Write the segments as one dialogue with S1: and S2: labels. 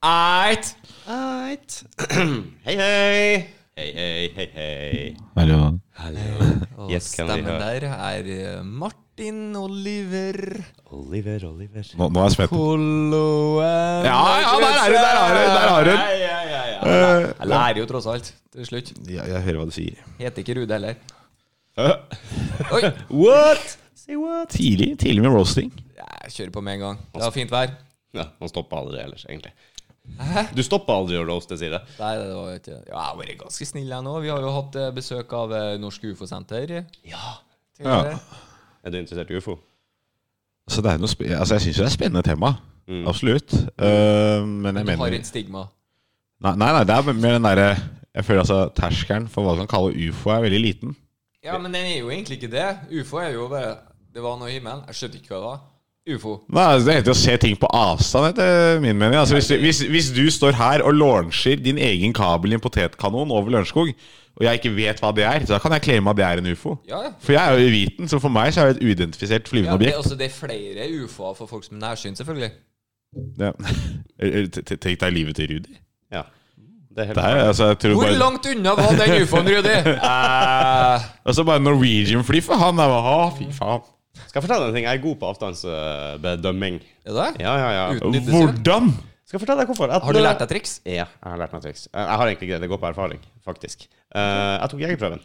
S1: Eit!
S2: Eit. Hei, hei.
S1: Hei, hei, hei, hei.
S3: Hallo.
S1: Hallo.
S2: Og Yes, can we stemmen
S1: stemmen
S2: hear?
S1: der er eh, Martin Oliver
S2: Oliver, Oliver.
S3: Nå, nå er jeg spent.
S1: Kolloen
S3: Ja, ja, der er du, der har du, der har du.
S1: Ja, ja, ja, ja. Jeg lærer jo tross alt til slutt.
S3: Ja, Eh, jeg hører hva du sier.
S1: Heter ikke Rude heller.
S3: Øh,
S1: Oi!
S2: What? Say what?
S3: Tidlig, tidlig med roasting.
S1: Jeg kjører på med en gang. Det var fint vær.
S2: Ja, han stoppa aldri ellers, egentlig. Du stoppa aldri å roaste, sier jeg.
S1: Nei, det var ikke Ja, jeg har vært ganske snill jeg nå. Vi har jo hatt eh, besøk av eh, Norsk UFO-senter.
S2: Ja.
S1: eh,
S3: Ja.
S2: Er du interessert i ufo?
S3: Så det er noe spe altså, jeg syns jo det er et spennende tema. Absolutt. Øh, men jeg
S1: Mm. Du har
S3: mener
S1: et stigma.
S3: Nei, nei, nei, det er mer den derre Jeg føler altså terskelen for hva du kan kalle ufo, er veldig liten.
S1: Ja, men den er jo egentlig ikke det. UFO er jo bare Det var noe i himmelen. Jeg skjønte ikke hva det var. UFO.
S3: Nei, altså, Det heter jo å se ting på avstand, etter min mening. Altså, hvis, du- hvis, hvis du står her og launcher din egen kabel i en potetkanon over Lørenskog, og jeg ikke vet hva det er, så da kan jeg claime at det er en ufo.
S1: Ja, ja.
S3: For jeg er jo uviten, så for meg så er det et uidentifisert
S1: Ja,
S3: flyvende
S1: det, er
S3: objekt.
S1: også, det er flere ufoer for folk som er nærsynt, selvfølgelig.
S3: Ja. Eh, T- t- Tenk deg livet til Rudi.
S2: Ja. Det er helt
S3: Det her, altså, jeg tror
S1: Hvor
S3: bare,
S1: langt unna var den ufoen, Rudi? Eh,
S3: altså bare Norwegian-fly for han. Jeg var, ah, fy faen.
S2: Skal jeg fortelle deg en ting? Jeg er god på avstandsbedømming.
S1: er det?
S2: Ja, ja, ja.
S1: Utnyttelse.
S3: Hvordan?
S2: Skal jeg fortelle deg hvorfor? At-
S1: Har du lært deg triks?
S2: Ja, jeg har lært meg triks. Eh, Jeg har egentlig ikke det. Det går på erfaring, faktisk. Eh, jeg tok jegerprøven.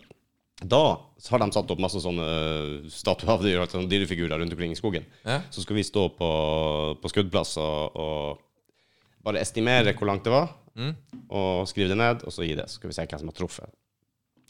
S2: Da har de satt opp masse sånne eh, statuer av dyr, sånne dyrefigurer rundt omkring i skogen.
S1: Ja.
S2: Så skulle vi stå på, på skuddplass og, og bare estimere hvor langt det var,
S3: Mm.
S2: og skrive det ned, og så gi det. Så skal vi se hvem som har truffet.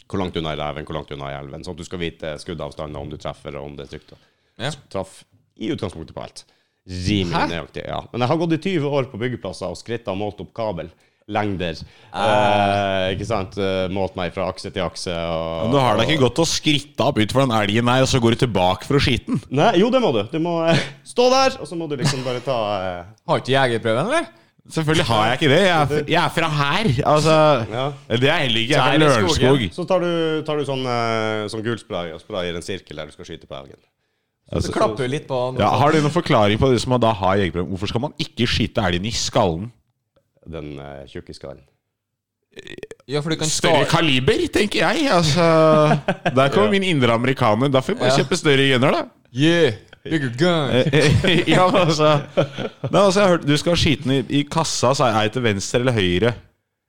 S2: Hvor langt unna i reven, hvor langt unna i elven. Sånn at du skal vite skuddavstanden, om du treffer, og om det er trygt.
S1: Ja.
S2: Traff i utgangspunktet på alt. Rimelig
S1: Hæ?
S2: nøyaktig, ja. Men jeg har gått i 20 år på byggeplasser og skrittet og målt opp kabel. Lengder.
S3: Ah.
S2: Eh, ikke sant? Eh, Målt meg fra akse til akse. Og,
S3: Men du har da ikke gått og skritta opp utfor den elgen her, og så går du tilbake for å skyte den?
S2: Nei, jo, det må du. Du må eh, stå der, og så må du liksom bare ta eh,
S1: Har ikke jegerprøven, eller?
S3: Selvfølgelig har jeg ikke det. Jeg er, f- jeg er fra her. Altså,
S2: Ja.
S3: Det er heller ikke. Jeg
S1: Så
S3: er fra
S1: er det skogen.
S3: Lørenskog.
S2: Så tar du, tar du sånn, eh, sånn gul spray og sprayer en sirkel der du skal skyte på elgen.
S1: Så klapper du litt på han.
S3: Altså, Ja, har du noen forklaring på det som man da har jegerprøven? Hvorfor skal man ikke skyte elgen i skallen?
S2: Den eh, tjukke skallen.
S1: Ja, for du kan
S3: Større
S1: skade
S3: kaliber, tenker jeg. Altså, der kommer min indre amerikaner. Da får vi bare
S1: Ja.
S3: kjøpe større gunner, da.
S1: Yeah, bigger
S3: Eh,
S1: gun.
S3: ja, men altså, Nei, altså jeg har hørt, Du skal skyte den i, i kassa, så er jeg til venstre eller høyre.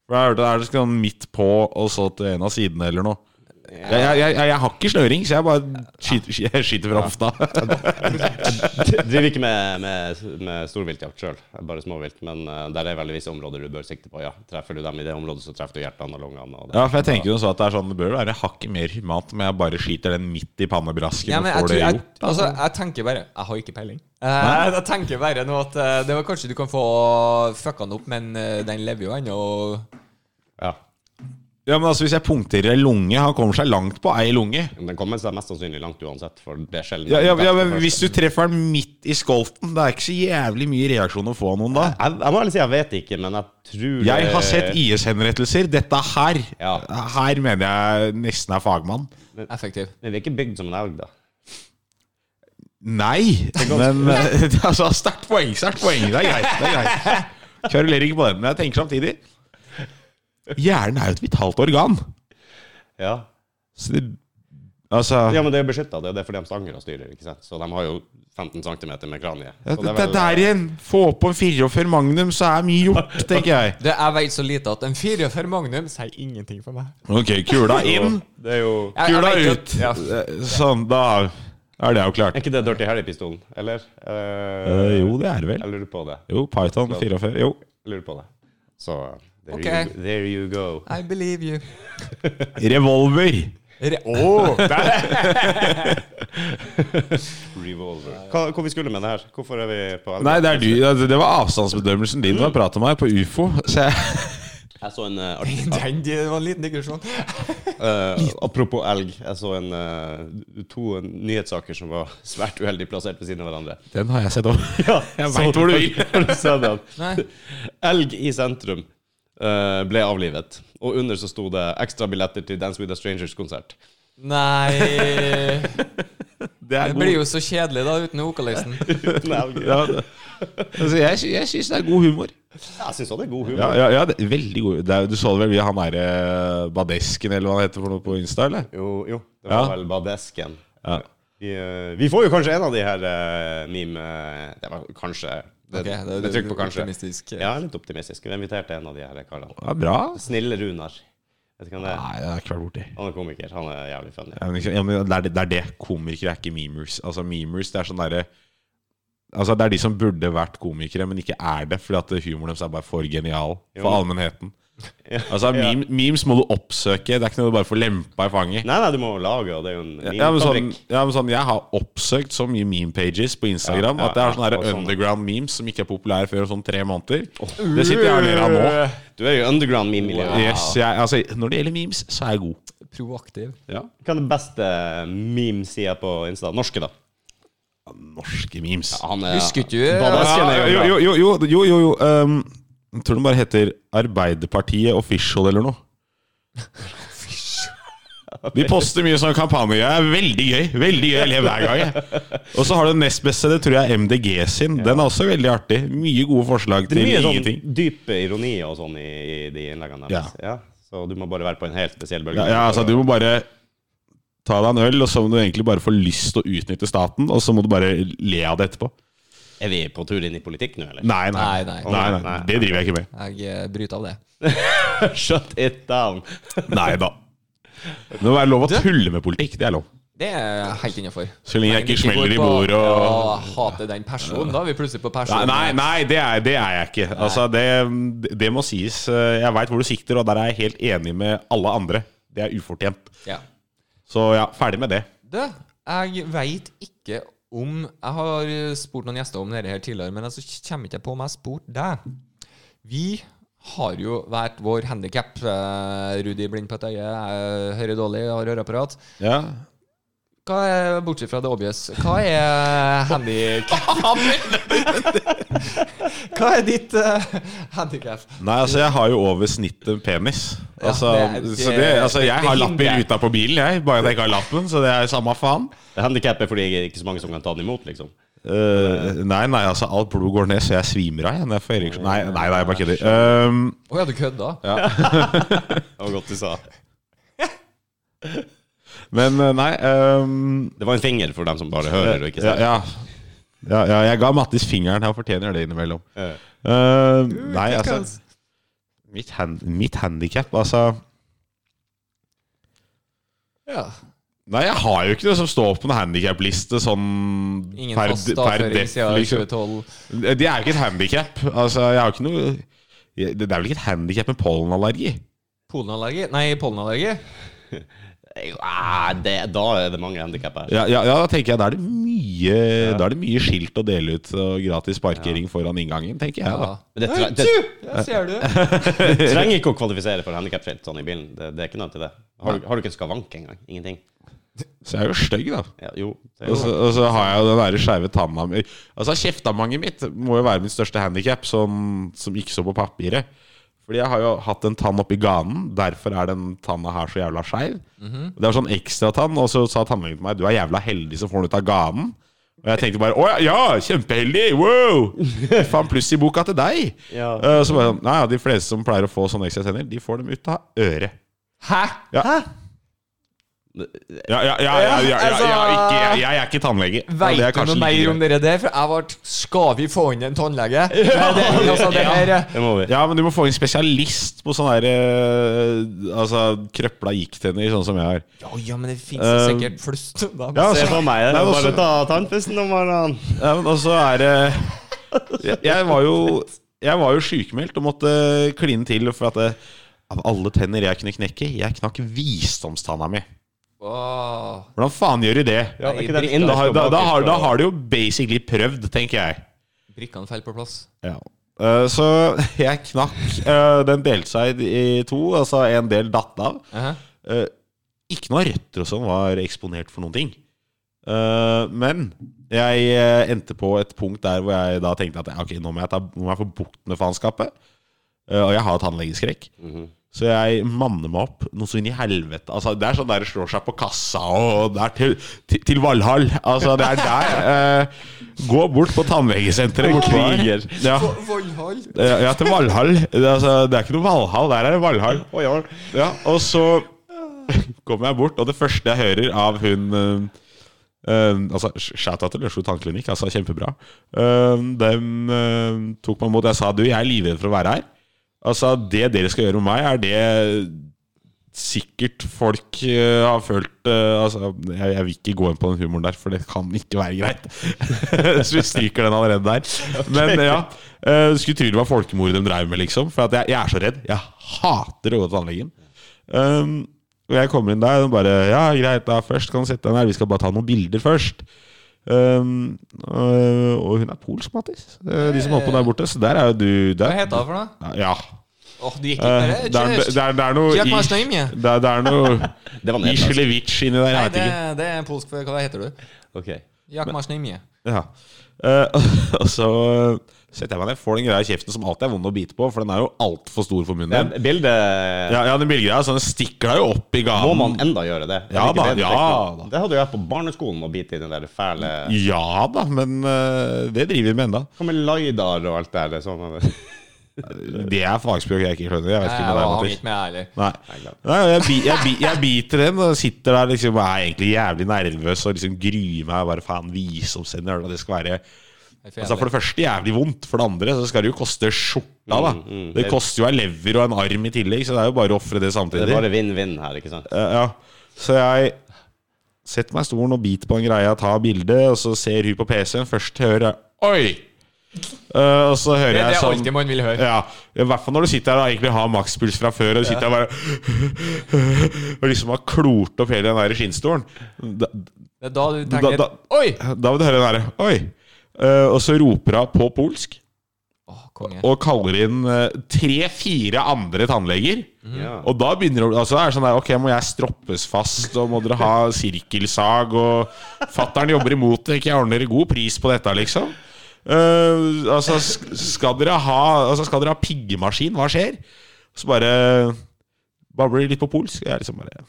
S3: For jeg har hørt at det er sånn midt på og så til en av sidene eller noe. Jeg, jeg, jeg, jeg har ikke snøring, så jeg bare skyter, jeg skyter fra hofta.
S2: Jeg driver ikke med, med, med storviltjakt sjøl, bare småvilt. Men eh, der er veldigvis områder du bør sikte på, ja. Treffer du dem i det området, så treffer du hjertene og lungene. Og det.
S3: Ja, for jeg tenker jo så at Det er sånn, det bør være hakket mer humant om jeg bare skyter den midt i pannebrasken.
S1: Ja, men jeg,
S3: og får
S1: tror,
S3: det
S1: jeg,
S3: gjort.
S1: altså, jeg tenker bare Jeg har ikke peiling. Eh, jeg tenker bare nå at eh, det var kanskje du kan få fucka den opp, men eh, den lever jo ennå. og-
S2: Ja.
S3: Ja, men altså Hvis jeg punkterer ei lunge Han kommer seg langt på ei lunge.
S2: Men Den kommer seg mest sannsynlig langt uansett, for det er sjelden
S3: Ja, ja, ja,
S2: Først.
S3: men Hvis du treffer den midt i skolten, det er ikke så jævlig mye reaksjon å få av noen da.
S2: jeg, jeg må ærlig si jeg vet ikke, men jeg tror
S3: Jeg har sett IS-henrettelser. Dette her
S2: Eh. Ja.
S3: Her mener jeg nesten er fagmann.
S1: Effektiv.
S2: Men vi er ikke bygd som en elg, da.
S3: Nei, men eh, altså, Sterkt poeng, sterkt poeng. Det er greit. det er greit Kverulerer ikke på den. Men jeg tenker samtidig Hjernen er jo et vitalt organ.
S2: Ja,
S3: Så det, altså
S2: ja men det er beskytta. Det det er fordi de stanger og styrer, ikke sant. Så de har jo 15 cm med kranie. Så
S3: det,
S2: er
S3: det
S2: vel-
S3: der igjen. Få på en 44 Magnum, så er mye gjort, tenker jeg.
S1: Det, jeg veit så lite at en 44 Magnum sier ingenting for meg.
S3: Ok, kula inn,
S2: Det er jo
S1: Jeg- jeg
S3: kula
S1: vet jo at-
S3: ut. Sånn, da er det jo klart.
S2: Er ikke det Dirty Harry-pistolen, eller? Eh,
S3: Eh, jo, det er det vel.
S2: Jeg lurer på det.
S3: Jo, Python 44. Jo.
S2: Jeg lurer på det. Så there,
S1: Ok.
S2: you, there you go.
S1: I believe you.
S3: Revolver.
S1: Re Åh, der er
S2: Revolver. Hva, hvor vi skulle med det her? Hvorfor er vi på
S3: Nei, det, er du, altså, det var avstandsbedømmelsen din du har pratet med meg på ufo. Så jeg,
S2: Jeg så en eh, artig-
S1: den, det var en liten digresjon.
S2: Eh, apropos elg, jeg så en, eh, to nyhetssaker som var svært uheldig plassert ved siden av hverandre.
S3: den har jeg sett òg. jeg
S2: så-
S3: vet hvor du vil.
S2: Har du sett den?
S1: Nei.
S2: Elg i sentrum eh, ble avlivet, og under så sto det ekstra billetter til Dance With The Strangers-konsert.
S1: Nei
S3: Det er
S1: Det
S3: god
S1: blir jo så kjedelig da uten Hokaløysen.
S3: ja, det- altså, Jeg, sy- jeg syns det er god humor.
S2: Jeg syns også det er god humor.
S3: Ja, ja, ja det er veldig god det er, Du så det vel via han derre eh, Badesken, eller hva han heter for noe på Insta, eller?
S2: Jo, jo. Det var
S3: Ja.
S2: vel Badesken.
S3: Ja.
S2: Vi, eh, vi får jo kanskje en av de her eh, meme... eh, Det var kanskje Det,
S1: Ok, det,
S2: det,
S1: det,
S2: trykk på kanskje.
S1: Optimistisk. eh,
S2: Ja, litt optimistisk. Vi inviterte en av de her karene.
S3: Ja, bra.
S2: Snille Runar. Vet du hvem det er?
S3: Nei, det er klart borti.
S2: Han er komiker. Han er jævlig funny.
S3: Ja, men ikke- ja, men det, er, det er det. Komikere er ikke memers. Altså, memers det er sånn derre Altså, det er de som burde vært komikere, men ikke er det, fordi at humoren deres er bare for genial for
S2: Jo.
S3: allmennheten.
S2: Ja.
S3: Altså,
S2: Ja.
S3: meme, memes må du oppsøke. Det er ikke noe du bare får lempa i fanget.
S2: Nei, nei, du må jo lage, og det er jo en
S3: Ja, men sånn,
S2: memefabrikk.
S3: ja, men sånn, jeg har oppsøkt så mye meme-pages på Instagram
S2: Ja, ja,
S3: at jeg har
S2: ja,
S3: sånne
S2: og
S3: der
S2: sånne.
S3: underground memes som ikke er populære før om sånn tre måneder. sånn, Det sitter jeg og ler av nå.
S2: Du er jo underground meme-miljøet.
S3: Yes, jeg, altså, når det gjelder memes, så er jeg god.
S1: Proaktiv.
S2: Hva er den beste meme-sida på Insta? Norske, da.
S3: Norske memes.
S2: Han er
S1: Husker ikke du
S2: Badesken er
S3: Ja,
S2: jo bra.
S3: jo, jo, jo, jo, jo, jo, jo. ehm, jeg tror den bare heter Arbeiderpartiet Official eller noe. Vi poster mye sånne kampanjer. Det er veldig gøy. Veldig gøy. Jeg ler hver gang. jeg. Og så har du den nest beste, det tror jeg er MDG sin. Den er også veldig artig. Mye gode forslag
S2: Det
S3: til
S2: er mye
S3: ingenting.
S2: sånn dyp ironi og sånn i, i de innleggene deres. Ja. Så du må bare være på en helt spesiell bølge.
S3: Ja, ja, altså Du må bare ta deg en øl, og så må du egentlig bare få lyst til å utnytte staten, og så må du bare le av det etterpå.
S2: Er vi på tur inn i politikk nå, eller?
S3: Nei, nei.
S1: Nei, nei.
S3: nei, nei. Det driver jeg ikke med.
S1: Jeg eh, bryter av det.
S2: Shut it down!
S3: Nei da. Det må være lov å tulle med politikk. Det er lov.
S1: Det er helt innafor.
S3: Så lenge jeg ikke smeller i bordet og-
S1: og Hater den personen. Da er vi plutselig på
S3: Nei,
S1: personen.
S3: nei, nei det, er, det er jeg ikke. Altså, det, det må sies. Eh, Jeg veit hvor du sikter, og der er jeg helt enig med alle andre. Det er ufortjent.
S1: Ja.
S3: Så ja, ferdig med det.
S1: Du, jeg veit ikke om Jeg har spurt noen gjester om dette her tidligere, men altså kommer ikke jeg på om jeg har spurt deg. Vi har jo hvert vår handikap. Rudi blind på et øye, jeg hører dårlig, jeg har høreapparat.
S3: Ja.
S1: Hva er, bortsett fra det obvious, hva er handikap? Hva er ditt uh, handikap?
S3: Nei, altså, jeg har jo over snittet penis.
S1: Ja,
S3: Altså,
S1: det er-
S3: så det, altså,
S1: det-
S3: jeg
S1: det
S3: har lapp i
S1: hindrer.
S3: ruta på bilen, jeg. Bare at jeg ikke har lappen, så det er samme faen.
S2: Handikap er fordi det er ikke så mange som kan ta den imot, liksom.
S3: Eh, nei, nei, altså, alt blod går ned, så jeg svimer av. jeg når jeg får ereksjon. Nei, nei, nei, jeg bare kødder. Um,
S1: Å ja, du kødda?
S2: Det var godt du sa.
S3: men eh, nei um,
S2: Det var en finger for dem som bare hører og ikke
S3: ja,
S2: ser.
S3: Eh, ja. Ja, ja, jeg ga Mattis fingeren. Han fortjener det innimellom.
S2: Ja.
S3: Eh, nei, altså Mitt, hand, mitt handikap, altså
S1: Ja.
S3: Nei, jeg har jo ikke det som står på en handikapliste sånn
S1: Ingen
S3: per,
S1: fast
S3: per
S1: avføring
S3: def,
S1: siden
S3: liksom.
S1: 2012.
S3: Det er jo ikke et handikap. Altså, jeg har ikke noe Det er vel ikke et handikap med pollenallergi?
S1: Polenallergi? Nei, pollenallergi.
S2: Ja, ah, det, da er det mange handikap her.
S3: Ja, ja, ja, da tenker jeg da er det mye Da er det mye skilt å dele ut og gratis parkering foran inngangen, tenker jeg. da
S1: Ja.
S2: Men det
S1: Oi,
S2: tre- det-
S1: tju! Ja, ser du?
S2: Du trenger ikke å kvalifisere for handikapskilt sånn i bilen. Det, det er ikke noe til det. Har, du- har du ikke en skavank engang? Ingenting?
S3: Så jeg er jo stygg, da.
S2: Ja, jo. Det er
S3: Og så,
S2: jo.
S3: og så har jeg jo den derre skeive tanna mi Altså, kjeftamanget mitt må jo være mitt største handikap, som, som ikke så på papiret. Fordi jeg har jo hatt en tann oppi ganen, derfor er den tanna her så jævla skeiv.
S2: Mhm.
S3: Det er sånn ekstratann, og så sa tannlegen til meg Du er jævla heldig som får den ut av ganen. Og jeg tenkte bare å ja, ja, kjempeheldig! Wow! Faen, pluss i boka til deg!
S2: Ja.
S3: Eh, Så bare sånn Nei, ja, de fleste som pleier å få sånne ekstra tenner, de får dem ut av øret.
S1: Hæ?
S3: Ja. Ja, ja, ja, ja, ja, ja, ja,
S1: altså-
S3: ikke, jeg, jeg er ikke tannlege. Ja, det
S1: Veit
S3: er
S1: du
S3: kanskje
S1: noe mer
S3: like greit.
S1: om dere der? For jeg ble Skal vi få inn en tannlege? Ja, det, altså, det her,
S2: Det må vi.
S3: Ja, men du må få en spesialist på sånne der, eh, altså, krøpla gikktenner, sånn som jeg har.
S1: ja, ja, men det fins jo sikkert flust om dem.
S3: Um, Ja,
S2: Se
S3: altså,
S2: på meg.
S3: Nei,
S2: Det er
S3: også-
S2: bare å ta tannpusten om morgenen.
S3: ja, men også er det jeg, jeg var jo Jeg var jo sykemeldt og måtte kline til for at eh, av alle tenner jeg kunne knekke, jeg knakk visdomstanna mi.
S1: Åh.
S3: Hvordan faen gjør du det?
S2: Ja, det er ikke den
S1: Nei,
S2: innerste
S3: Da, har- da,
S2: bakerste,
S3: da, har, da
S2: og-
S3: har du jo basically prøvd, tenker jeg.
S1: Brikkene faller på plass.
S3: Ja. Eh, Så jeg knakk. eh, Den delte seg i to, altså en del datt av.
S1: Aha.
S3: Eh, ikke noe røtter og sånn var eksponert for noen ting. Eh, men jeg eh, endte på et punkt der hvor jeg da tenkte at ok, nå må jeg, ta, nå må jeg få bukt med faenskapet. Eh, og jeg har tannlegeskrekk. Så jeg manner meg opp noe så inn i helvete. Altså, det er sånn der det slår seg på kassa, og det er til, til, til Valhall. Altså, det er der. Eh, gå bort på tannlegesenteret. bort der.
S2: Kriger.
S3: Ja.
S1: Vollhall.
S3: Ja, ja, til Valhall. Det er, altså, det er ikke noe Valhall, der er det Valhall.
S2: Oi, oi.
S3: Ja, og så kommer jeg bort, og det første jeg hører av hun eh, eh, Altså, Shout-out til Lørenskog tannklinikk, altså kjempebra. Eh, dem eh, tok meg imot. Jeg sa du, jeg er livredd for å være her. Altså, det dere skal gjøre med meg, er det sikkert folk eh, har følt eh, Altså, jeg, jeg vil ikke gå inn på den humoren der, for det kan ikke være greit. Så vi stryker den allerede der. Men ja. eh, skulle tro det var folkemord de drev med, liksom. For at jeg, jeg er så redd. Jeg hater å gå til tannlegen. Um, og jeg kommer inn der og bare Ja, greit, da først kan du sette deg ned. Vi skal bare ta noen bilder først. Um, og, og hun er polsk, Mattis. Eh, De som holder på der borte. Så der er jo du
S1: Hva
S3: der.
S1: heter hun for noe?
S3: Ja.
S1: Åh, det gikk
S3: Eh,
S1: ikke
S3: Det er, det
S1: bare.
S3: er, det er noe
S1: Jack
S3: i-
S1: Marsheim, ja.
S3: Det er, det er noe
S2: Det var ned. Altså.
S3: Islevitsj inni der.
S1: Nei,
S3: Jeg vet
S1: det,
S3: ikke.
S1: det er polsk for Hva heter du?
S2: Ok.
S1: Jakmarsnimje.
S3: Ja. Eh, og så setter jeg meg ned, får den greia i kjeften som alltid er vond å bite på, for den er jo altfor stor for munnen
S2: Ja,
S3: din.
S2: bildet
S3: Ja, ja, den bilgreia, så den stikker deg jo opp i
S2: Må man
S3: ganen.
S2: enda gjøre det? Er
S3: Ja
S2: det ikke
S3: da,
S2: det du
S3: ja
S2: tenker?
S3: da.
S2: Det hadde jo jeg på barneskolen, å bite i den der fæle
S3: Ja da, men eh, det driver vi med enda.
S2: Hva med Laidar og alt det der? Sånn.
S3: Det er fagspråk jeg ikke skjønner. Jeg vet
S1: Jeg
S3: ikke med deg,
S1: var
S3: Mattis.
S1: ikke med, heller.
S3: Nei. Nei, jeg, bi, jeg, bi, jeg biter den og sitter der liksom, og er egentlig jævlig nervøs og liksom gruer meg. Bare faen, visdomstenner. Det skal være
S1: Jeg
S3: altså, For
S1: fjerner.
S3: det første jævlig vondt, for det andre så skal det jo koste skjorta. da Det koster jo ei lever og en arm i tillegg, så det er jo bare å ofre det
S2: Det
S3: samtidig.
S2: er bare vinn-vinn her, ikke sant?
S3: Eh, ja. Så jeg setter meg i stolen og biter på en greie, tar bilde, og så ser hun på PC-en. Først hører jeg Oi! Eh, og så hører
S1: Det det
S3: jeg
S1: er
S3: sånn
S1: alltid man vil høre.
S3: ja, I hvert fall når du sitter her og egentlig har makspuls fra før, og du sitter her bare Og liksom har klort opp hele den der skinnstolen. Da,
S1: Det er da du
S3: da,
S1: tenker
S3: da, oi! Da vil du høre den derre Oi! Eh, og så roper hun på polsk
S1: Åh, konge.
S3: og kaller inn tre-fire andre tannleger.
S2: Ja.
S3: Mm. Og da begynner det altså det er sånn der, Ok, må jeg stroppes fast, og må dere ha sirkelsag, og fattern jobber imot det, ikke jeg ordner god pris på dette, liksom. Eh, altså, sk- skal dere ha Altså, skal dere ha piggemaskin? Hva skjer? Så bare babler de litt på polsk. Jeg er liksom bare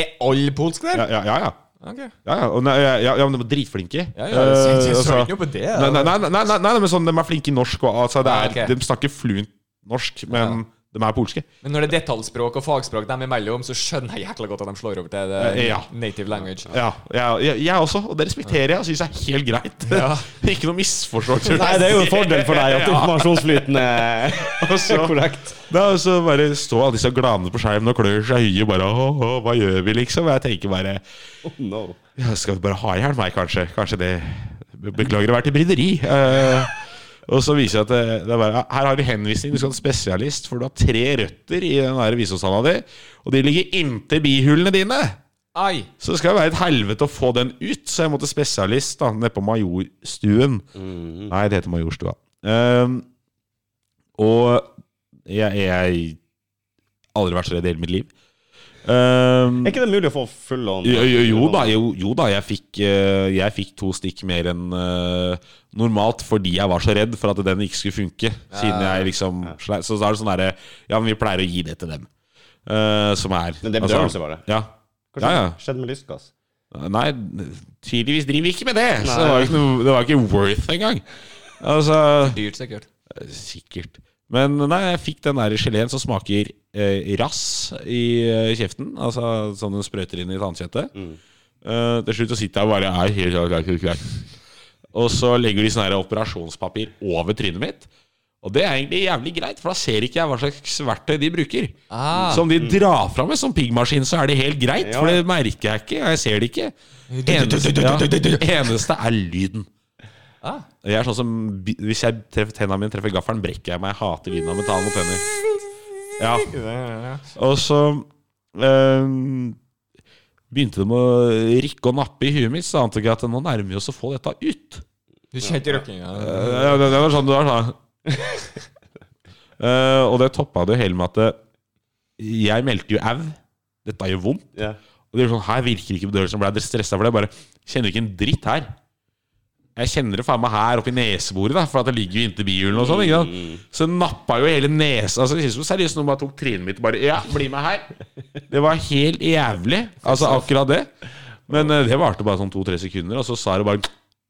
S1: Er alle polske der?
S3: Ja, ja, ja. ja.
S1: Ok.
S3: Ja, ja, og nei, ja, ja, ja men de er dritflinke.
S1: Ja, ja, jeg synes- jeg
S3: Eh,
S1: så
S3: altså-
S1: ikke noe på det. da.
S3: Nei, nei, nei, nei, nei, nei, nei, men sånn, de er flinke i norsk. Og, altså, det er,
S1: Ja, ok.
S3: De snakker fluent norsk, men de er polske.
S1: Men når det er detaljspråk og fagspråk dem imellom, så skjønner jeg jækla godt at de slår over til det
S3: Eh, Ja.
S1: native language.
S3: Ja, jeg, jeg, jeg også, og det respekterer jeg og syns er helt greit.
S1: Ja.
S3: Ikke noe misforståelse.
S2: Nei, det er jo en fordel for deg at informasjonsflyten er
S3: så-
S2: korrekt.
S3: Da, og så bare står alle disse gladene på skjermen og klør seg i huet bare åh, åh, hva gjør vi, liksom? Og jeg tenker bare
S2: Oh, no.
S3: ja, skal vi bare ha i hjel meg, kanskje? Kanskje det Beklager å være til bryderi. Eh, og så viser jeg at det, det er bare, her har du henvisning, du skal ha en spesialist, for du har tre røtter i den der visdomstanna di, og de ligger inntil bihulene dine.
S1: Ai!
S3: Så det skal jo være et helvete å få den ut, så jeg måtte spesialist da, nede på Majorstuen.
S2: Mm. Mhm.
S3: Nei, det heter Majorstua. Ehm, og jeg jeg aldri vært så redd i hele mitt liv. Ehm,
S2: Er ikke det mulig å få full on?
S3: jo, jo, jo da, jo, jo da jeg, fikk, eh, jeg fikk to stikk mer enn eh, normalt fordi jeg var så redd for at den ikke skulle funke. Siden jeg liksom slei- Så da er det sånn derre Ja, men vi pleier å gi det til dem. eh, som er
S2: Men det er
S3: altså,
S2: bedøvelse, bare.
S3: Ja.
S2: Hva
S3: Ja, ja.
S2: skjedde med lystgass?
S3: Nei, tydeligvis driver vi ikke med det. Så det var ikke, noe, det var ikke worth engang. Altså
S1: Dyrt, sikkert.
S3: Sikkert. Men nei, jeg fikk den der geleen som smaker eh, rass i eh, kjeften. Altså sånn den sprøyter inn i tannkjøttet. Eh, til slutt så sitter jeg og bare er helt klar, klar, klar, klar. Og så legger de sånn her operasjonspapir over trynet mitt. Og det er egentlig jævlig greit, for da ser ikke jeg hva slags verktøy de bruker.
S1: Ah.
S3: Så om de drar fra meg som piggmaskin, så er det helt greit,
S2: Ja.
S3: for det merker jeg ikke. Og jeg ser det ikke. Eneste, ja, eneste er lyden.
S1: Ah.
S3: Jeg er sånn som bi- Hvis jeg treffer tennene mine treffer gaffelen, brekker jeg meg. Jeg hater lyden av metall mot tenner. Ja, Og så øhm, begynte de å rikke og nappe i huet mitt, så ante jeg at nå nærmer vi oss å få dette ut.
S1: Du kjente røkkinga?
S3: Eh, ja, det, det var sånn det var, da. Eh, og det toppa det jo hele med at det, jeg meldte jo au. Dette gjør vondt.
S2: Ja.
S3: Og det er sånn, Her virker ikke bedøvelsen. Ble jeg stressa for det? Jeg Bare kjenner ikke en dritt her. Jeg kjenner det faen meg her oppe i neseboret, da, for at det ligger jo inntil bihulene og sånn. ikke
S2: Mm.
S3: sant? Så den nappa jo hele nesa. Altså, det kjennes jo seriøst noen bare tok trynet mitt og bare Ja, bli med her! Det var helt jævlig. Altså, akkurat det. Men eh, det varte bare sånn to-tre sekunder, og så sa det bare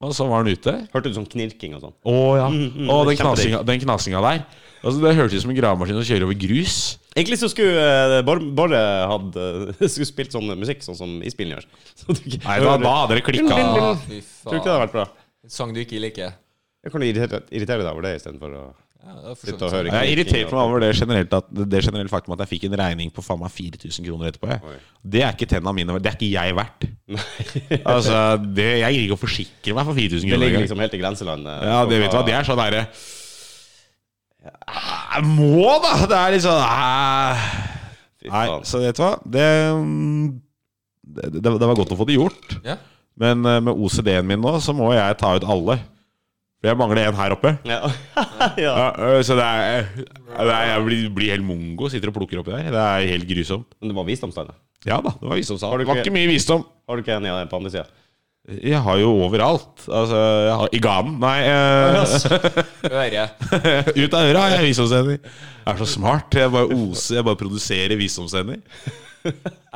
S3: Og så var den ute.
S2: Hørte du sånn knirking og sånn?
S3: Å ja. Å, den
S2: kjempedigg.
S3: knasinga, den knasinga der. Altså, det hørtes ut som en gravemaskin som kjører over grus.
S2: Egentlig så skulle eh, Bor- Borre hatt, eh, skulle spilt sånn musikk, sånn som isbilen gjør. Så du ikke
S3: Nei, da, da hadde det klikka.
S1: Ah, fy
S2: Tror ikke det hadde
S1: faen.
S2: vært bra.
S1: En sang du ikke liker.
S2: Jeg kan jo irritere, irritere deg over det istedenfor å
S1: Ja, det er for så
S2: sitte og
S1: vidt sant.
S2: høre.
S3: Jeg er
S2: knirking
S3: irritert meg over det generelt at, Det generelle faktum at jeg fikk en regning på faen meg 4000 kroner etterpå.
S2: Oi.
S3: Jeg. Det er ikke tenna mine Det er ikke jeg verdt.
S2: Nei.
S3: Altså, det, Jeg gidder ikke å forsikre meg for 4000
S2: Det
S3: kroner.
S2: ligger
S3: engang.
S2: liksom helt i grenselandet.
S3: Ja, det vet du hva, det er sånn derre "Ah, Jeg må, da! Det er litt sånn eh.
S2: Fy
S3: Nei,
S2: faen.
S3: så vet du hva det, mm, det, det, det var godt å få det gjort.
S1: Ja.
S3: Men eh, med OCD-en min nå, så må jeg ta ut alle. For jeg mangler en her oppe.
S2: Ja. ja.
S3: Ja, øh, så det er, det er Jeg blir, blir helt mongo, sitter og plukker oppi der. Det er helt grusomt.
S2: Men det var visdomstegnet.
S3: Ja da, det var visdomssal.
S2: Har du
S3: Det var
S2: ikke-
S3: ikke mye visdom.
S2: Har du ikke en i den på andre sida?
S3: Jeg har jo overalt. Altså, jeg har, I ganen. Nei, eh,
S1: Øre.
S3: ut av øra har jeg visdomstenner. Jeg er så smart. Jeg bare oser, jeg bare produserer visdomstenner.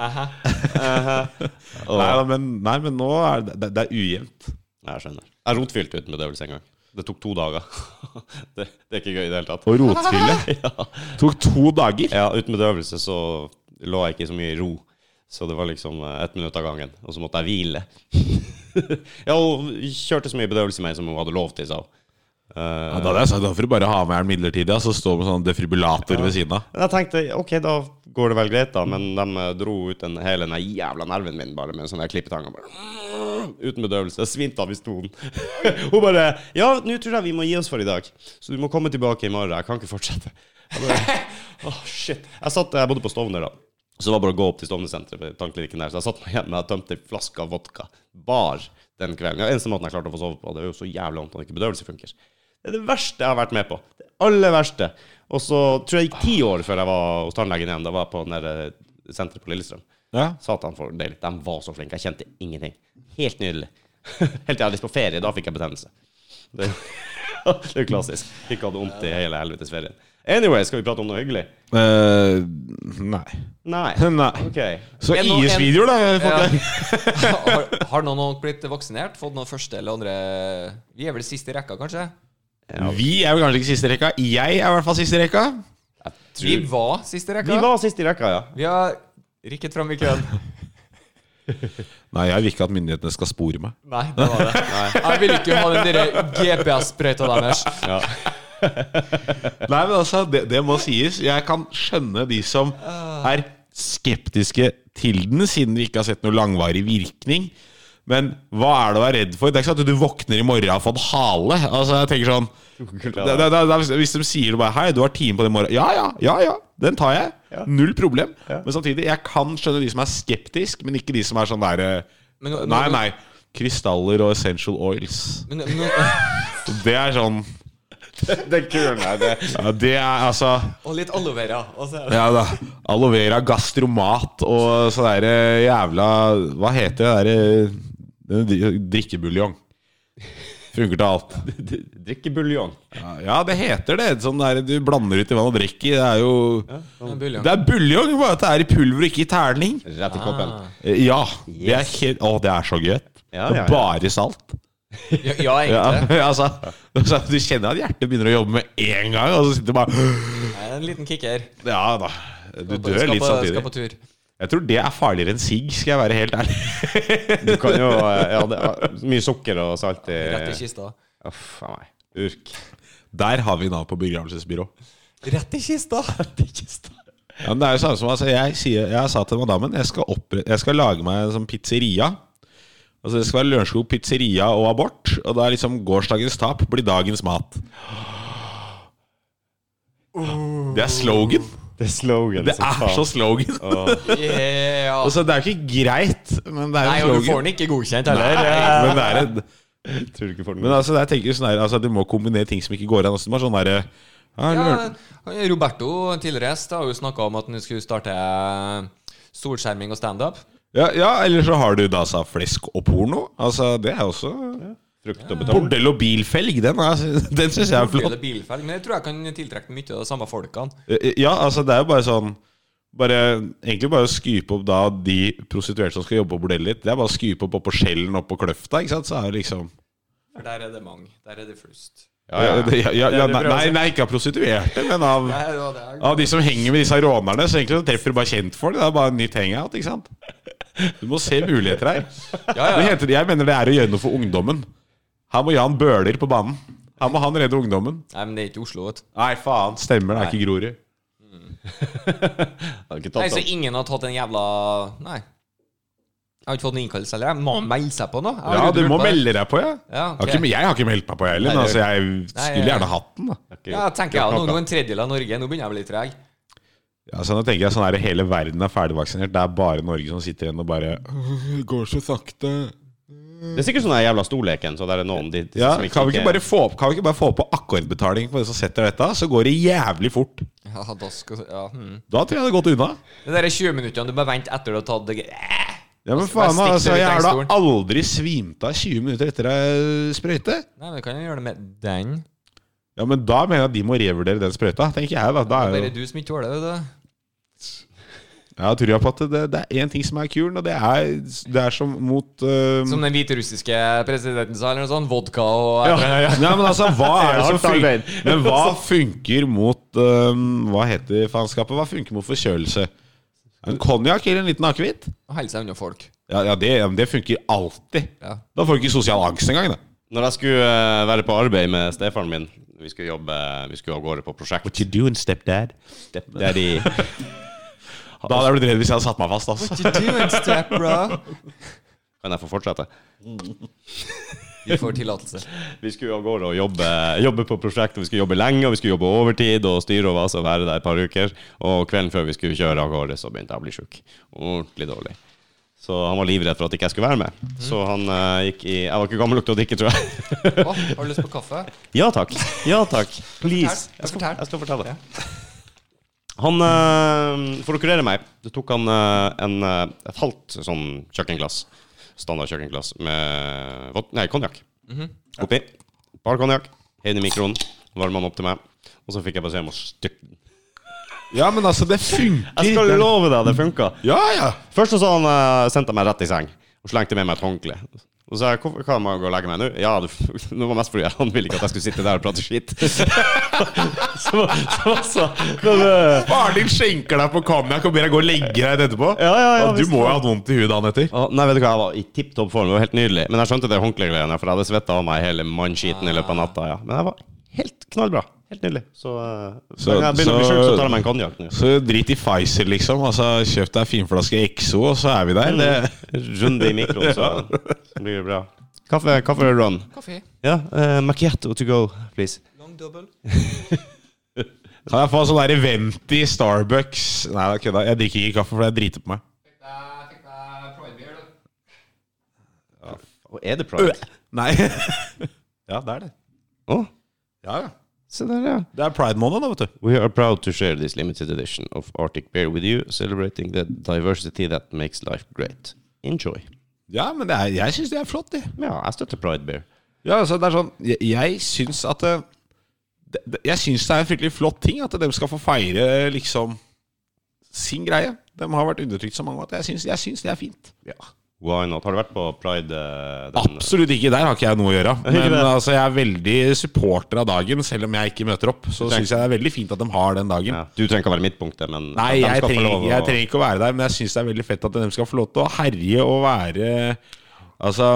S1: Aha.
S3: Nei, da, men, nei, men nå er det, det, det er ujevnt.
S2: Jeg skjønner. Jeg rotfylte ut med bedøvelse en gang. Det tok to dager. det, det er ikke gøy i det hele tatt.
S3: Og rotfylle
S2: Ja.
S3: tok to dager.
S2: Ja, uten bedøvelse så lå jeg ikke så mye i ro. Så det var liksom eh, ett minutt av gangen, og så måtte jeg hvile. ja, hun kjørte så mye bedøvelse i meg som hun hadde lov til, sa hun. Eh,
S3: Ja, da hadde jeg sagt da får du bare ha med den midlertidig, og så stå med sånn defibrillator ved siden av.
S2: Men jeg tenkte ok, da går det vel greit, da. Men de eh, dro ut den hele den jævla nerven min bare med en sånn der klippetang. og Bare, uten bedøvelse. Jeg svimte av i stolen. Hun bare Ja, nå tror jeg vi må gi oss for i dag, så du må komme tilbake i morgen. Jeg kan ikke fortsette. Jeg bare, «Åh, shit. Jeg, satt, jeg bodde på Stovner da. Så det var bare å gå opp til Stovner-senteret ved tannklinikken der. Så jeg satt meg hjemme og tømte en flaske av vodka. Bar den kvelden. Det var eneste måten jeg klarte å få sove på. Det var jo så jævlig vondt at ikke bedøvelse funker. Det er det verste jeg har vært med på. Det aller verste. Og så tror jeg det gikk ti år før jeg var hos tannlegen igjen. Da var jeg på den der, eh, senteret på Lillestrøm.
S3: Ja.
S2: Satan for deilig. De var så flinke. Jeg kjente ingenting. Helt nydelig. Helt til jeg hadde lyst på ferie. Da fikk jeg betennelse. Det, det er jo klassisk. Ikke hadde vondt i hele helvetes ferien. Anyway, skal vi prate om noe hyggelig?
S3: Eh, nei.
S2: Nei.
S3: nei.
S2: OK.
S3: Så
S1: En og-
S3: IS-videoer, da.
S1: Ja.
S3: Folk.
S1: Har, har noen nok blitt vaksinert? Fått noe første eller andre Vi er vel siste i rekka, kanskje?
S2: Ja,
S3: Vi er jo kanskje ikke siste rekka. Jeg er i hvert fall siste rekka.
S1: Vi var siste i rekka.
S2: vi var sist i rekka, ja.
S1: Vi har rykket fram i køen.
S3: Nei, jeg vil ikke at myndighetene skal spore meg.
S1: Nei, det var det. Jeg vil ikke ha den der GPS-sprøyta deres.
S2: ja.
S3: Nei, men altså, det, det må sies. Jeg kan skjønne de som
S1: Ah.
S3: er skeptiske til den, siden vi ikke har sett noe langvarig virkning. Men hva er det å være redd for? Det er ikke sånn at du våkner i morgen og har fått hale. Altså, jeg tenker sånn det, det, det, det, Hvis de sier bare 'hei, du har time på det i morgen', ja ja, ja ja, den tar jeg. Null problem. Men samtidig, jeg kan skjønne de som er skeptisk, men ikke de som er sånn derre
S1: Men nå- nå-
S3: Nei, nei. Krystaller og essential oils.
S1: Men, men,
S3: Det er sånn
S2: Den kuren her, det
S3: ja, Det er altså
S1: og litt aloe vera. og så er det-
S3: Ja da. Aloe vera, gastromat og sånn derre jævla Hva heter det derre dri- Drikkebuljong. Funker til alt.
S2: Drikkebuljong.
S3: Ja, Ja, det heter det. Sånn der, du blander ut i vann og drikker i. Det er jo
S1: Men buljong.
S3: Mm. Det er buljong, bare at det er i pulver og ikke i terning.
S2: Rett i koppen.
S1: Ah.
S3: Eh, Ja. Det er helt, å, det er så godt.
S2: Ja,
S3: Det
S2: ja,
S3: er
S2: ja.
S3: Bare salt.
S1: Ja, ja,
S3: Ja,
S1: egentlig.
S3: altså, altså, du kjenner at hjertet begynner å jobbe med en gang, og så sitter du bare
S1: Det er en liten kicker.
S3: Ja da. Du
S1: Du
S3: dør
S1: skal
S3: litt
S1: på,
S3: samtidig.
S1: Skal på tur.
S3: Jeg tror det er farligere enn sigg, skal jeg være helt ærlig.
S2: Du kan jo eh, Ja, det er mye sukker og salt i
S1: Rett i kista.
S2: Uff a meg. Urk.
S3: Der har vi Nav på begravelsesbyrå.
S1: Rett i kista!
S3: Ja, men det er jo samme som altså, jeg, sier, jeg sa til madammen jeg skal, oppre- jeg skal lage meg en sånn pizzeria. Altså Det skal være Lørenskog pizzeria og abort. Og da er liksom gårsdagens tap blir dagens mat. Det er slogan.
S2: Det er slogan.
S3: Det er så slogan.
S1: Yeah.
S3: Altså Det er jo ikke greit, men det er
S1: Nei,
S3: jo
S1: og du får
S3: slogan.
S1: den ikke godkjent heller.
S3: Nei, men det er en
S2: Tror du ikke får den
S3: Men altså, jeg tenker sånn her, altså, du må kombinere ting som ikke går an. Altså, du må ha sånn der, ja,
S1: Ja,
S3: løren-
S1: Roberto, en tidligere gjest, har jo snakka om at han skulle starte eh, solskjerming og standup.
S3: ja, ja, eller så har du da sa flesk og porno. Altså, det er også
S2: Frukt og betong.
S3: Bordell og bilfelg, den, er- den syns jeg er flott.
S1: Eller bilfelg, men jeg tror jeg kan tiltrekke mye av de samme folkene.
S3: Ja, altså det er jo bare sånn bare, Egentlig bare å skype opp da de prostituerte som skal jobbe på bordellet ditt. Det er bare å skype opp oppå skjellen oppå kløfta, ikke sant. Så er det liksom
S1: For der er det mange. Der er det flust.
S2: Ja, ja, ja.
S3: Det- ja,
S4: Det
S3: ja, ja,
S4: er det
S3: nei,
S4: bra å
S3: nei,
S4: si.
S3: nei, ikke av prostituerte, men av,
S1: Nei, det var det jeg-
S3: av de som henger med disse rånerne. Så egentlig så treffer du bare kjentfolk. Det er bare en nytt hangout, ikke sant. Du må se muligheter her.
S1: Ja, ja,
S3: Det
S1: ja.
S3: heter, jeg mener det er å gjøre noe for ungdommen. Her må Jan Bøhler på banen. Her må han redde ungdommen.
S1: Nei, men det er ikke Oslo, vet du.
S3: Nei, faen. Stemmer, det er ikke Grorud.
S2: Jeg hadde ikke
S1: Nei,
S2: tatt
S1: så
S2: den.
S1: ingen har tatt en jævla Nei. Jeg har ikke fått noen innkallelse heller. Jeg må melde seg på nå. Jeg har
S3: Ja,
S1: aldri
S3: du
S1: lurt
S3: må
S1: på det.
S3: melde deg på, ja.
S1: Ja,
S3: Jeg har
S1: ok.
S3: ikke- Jeg har ikke meldt meg på, jeg heller. Men
S1: Nei,
S3: altså,
S1: det-
S3: jeg
S1: Nei,
S3: skulle
S1: ja, ja.
S3: gjerne hatt den. da
S1: ja, tenker jeg. Nå, nå er en tredjedel av Norge. Nå begynner jeg å bli treg.
S3: ja, så Nå tenker jeg sånn her hele verden er ferdigvaksinert. Det er bare Norge som sitter igjen og bare «Åh, Går så sakte.
S2: Det er sikkert sånn der jævla storleken, så der er noen de,
S3: Ja,
S2: som
S3: kan vi, ikke bare få, kan vi ikke bare få på akkordbetaling på det som setter dette? Så går det jævlig fort.
S1: Ja, da skal ja, hmm.
S3: Da tror jeg det har gått unna.
S1: Det der er 20 minuttene du bør vente etter du har tatt det eh.
S3: Ja, men
S1: Så bare
S3: faen, altså,
S1: stikker
S3: jeg har
S1: det ut
S3: da
S1: av
S3: aldri svimt av 20 minutter etter ei sprøyte.
S1: Nei, men du kan jo gjøre det med den.
S3: Ja, men da mener jeg at de må revurdere den sprøyta, tenker jeg. da, da
S1: Det er bare
S3: er jo,
S1: du som ikke tåler det. vet du.
S3: Jeg har trua på at det, det er én ting som er kul, og det er, det er som mot eh,
S1: Som den hviterussiske presidenten sa, eller noe sånt. Vodka og
S3: Nei, men altså, hva er det som
S2: Hardt arbeid.
S3: funker Men hva funker mot øhm, Hva heter faenskapet? Hva funker mot forkjølelse? En konjakk eller en liten akevitt?
S1: og holde seg unna folk.
S3: Ja, ja, det, ja, men det funker alltid.
S1: Ja.
S3: Da får du ikke sosial angst engang. Da.
S2: Når jeg skulle eh, være på arbeid med stefaren min Vi skulle jobbe Vi skulle av gårde på prosjekt.
S3: you doing, stepdad?
S2: Det er de
S3: Da hadde jeg blitt redd hvis jeg hadde satt meg fast. Altså.
S1: What you doing, step, bro?
S2: Kan jeg få fortsette?
S1: Du får tillatelse.
S2: Vi skulle av gårde og jobbe, jobbe på prosjekt, og vi skulle jobbe lenge, og vi skulle jobbe overtid og styre og vase og være der et par uker. Og kvelden før vi skulle kjøre av gårde, så begynte jeg å bli sjuk. Ordentlig dårlig. Så han var livredd for at ikke jeg skulle være med. Så han eh, gikk i Jeg var ikke gammel nok til å drikke, tror jeg.
S1: Å, har du lyst på kaffe?
S2: ja takk. Ja takk. Please.
S1: Fortell. Fortell.
S2: Jeg skal fortelle. Han, eh, for å kurere meg, det tok han eh, en, eh, et halvt sånn kjøkkenglass, standard kjøkkenglass, med vod- nei, konjakk. Oppi. Bare konjakk. Inn i mikroen. Varmer han opp til meg. Og så fikk jeg beskjed om å stykke
S3: Ja, men altså, det funker.
S2: Jeg skal love deg, det funka.
S3: Ja, ja.
S2: Først så sa han, eh, sendte han meg rett i seng og slengte med meg et håndkle. Og så sa jeg hvorfor kan jeg gå og legge meg nå? Ja, du, det var mest fordi han ville ikke at jeg skulle sitte der og prate skitt. så, så, så, så, men, eh,
S3: Faren din skjenker deg på konjakk og ber deg gå og legge deg etterpå?
S2: Ja, ja, ja,
S3: du
S2: visst.
S3: må jo ha hatt vondt i huet dagen etter.
S2: Å, nei, vet du hva, jeg var i tipp topp form. Det var helt nydelig. Men jeg skjønte det håndklegreiene, for jeg hadde svetta av meg hele mannskiten i løpet av natta. Ja. Men jeg var helt knallbra. Helt nydelig. Så, eh,
S3: Så-
S2: når jeg begynner å bli
S3: så-
S2: sjuk, så tar jeg meg en konjakk nå.
S3: Så drit i Pfizer, liksom. Altså, Kjøp deg finflaske Exo, og så er vi der. Det,
S2: Runde i mikroen, så, så blir det bra. Kaffe, kaffe run.
S1: Kaffe.
S2: Ja, eh, macchiato to go, please.
S1: Lang double.
S3: Kan jeg få sånn der event i Starbucks? Nei, jeg kødda. Jeg drikker ikke kaffe, for jeg driter på meg.
S1: Fikk deg fikk deg pride beer, du.
S2: Og er det pride?
S3: Nei. ja, det er det.
S2: Å,
S3: Ja, ja.
S2: se der, ja.
S3: Det er pride-måned, da, vet du.
S2: We are proud to share this limited edition of Arctic Beer with you, celebrating the diversity that makes life great. Enjoy.
S3: Ja, men det er, jeg syns det er flott, det.
S2: Ja, jeg støtter Pride Beer.
S3: Ja, altså, det er sånn Jeg, jeg syns at det, det, det- Jeg syns det er en fryktelig flott ting at de skal få feire liksom sin greie. De har vært undertrykt så mange at jeg syns, jeg syns det er fint.
S2: Ja. Why not? Har du vært på Pride? eh, den-
S3: Absolutt ikke. Der har ikke jeg noe å gjøre. Men altså, jeg er veldig supporter av dagen, selv om jeg ikke møter opp. Så syns jeg det er veldig fint at de har den dagen.
S2: Ja. Du trenger ikke å være midtpunktet, men
S3: Nei,
S2: de
S3: jeg
S2: skal få
S3: trenger,
S2: lov å-
S3: jeg trenger ikke å være der, men jeg syns det er veldig fett at de skal få lov til å herje og være Altså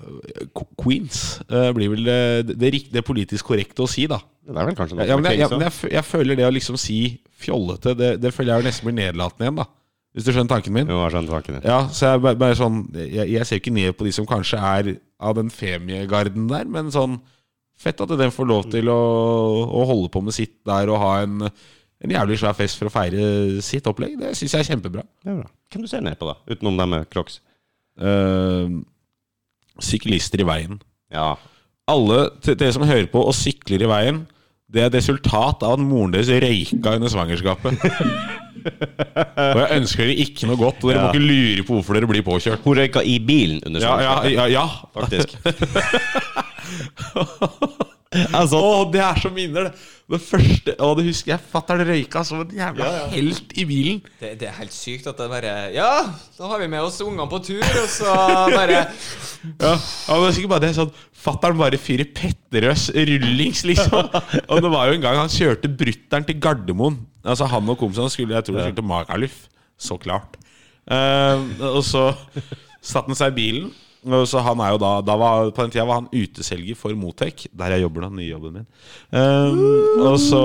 S3: Q- Queens eh, blir vel det, det, rik- det politisk korrekte å si, da.
S2: Det er vel kanskje noe
S3: Ja, men
S2: med
S3: jeg, jeg,
S2: Kings,
S3: men
S2: da.
S3: jeg, fø- jeg føler det å liksom si fjollete, det, det føler jeg jo nesten blir nedlatende igjen, da. Hvis du skjønner tanken min?
S2: Jo, jeg skjønner tanken din.
S3: Ja, så jeg bare, bare sånn jeg, jeg ser jo ikke ned på de som kanskje er av den femiegarden der, men sånn Fett at den får lov til å, å holde på med sitt der og ha en, en jævlig svær fest for å feire sitt opplegg. Det syns jeg er kjempebra.
S2: Det er bra. Hvem du ser ned på, da? Utenom dem med crocs.
S3: Eh, syklister i veien.
S2: Ja.
S3: Alle til- dere som hører på og sykler i veien, Det er et resultat av at moren deres røyka under svangerskapet. og jeg ønsker dere ikke noe godt, og dere må ikke lure på hvorfor dere blir påkjørt.
S2: Hun røyka i bilen under
S3: Ja, ja,
S2: svangerskapet,
S3: ja, ja.
S2: faktisk.
S3: Å, det er så minner, det. Det første Å, det husker jeg. Fatter'n røyka som en jævla helt i bilen.
S1: Det, det er helt sykt at det bare Ja, da har vi med oss ungene på tur, og så bare
S3: Ja, ja men det er sikkert bare det sånn Fatteren bare fyrer Petterøes rullings liksom Og det var jo en gang han kjørte brutteren til Gardermoen Altså han og kompisene skulle Jeg tror de skulle til Magaluf Så klart Eh, Og så satt han seg i bilen og så han er jo da, da var, På den tiden var han uteselger for Motec Der jeg jobber da, nye jobben min Eh, Og så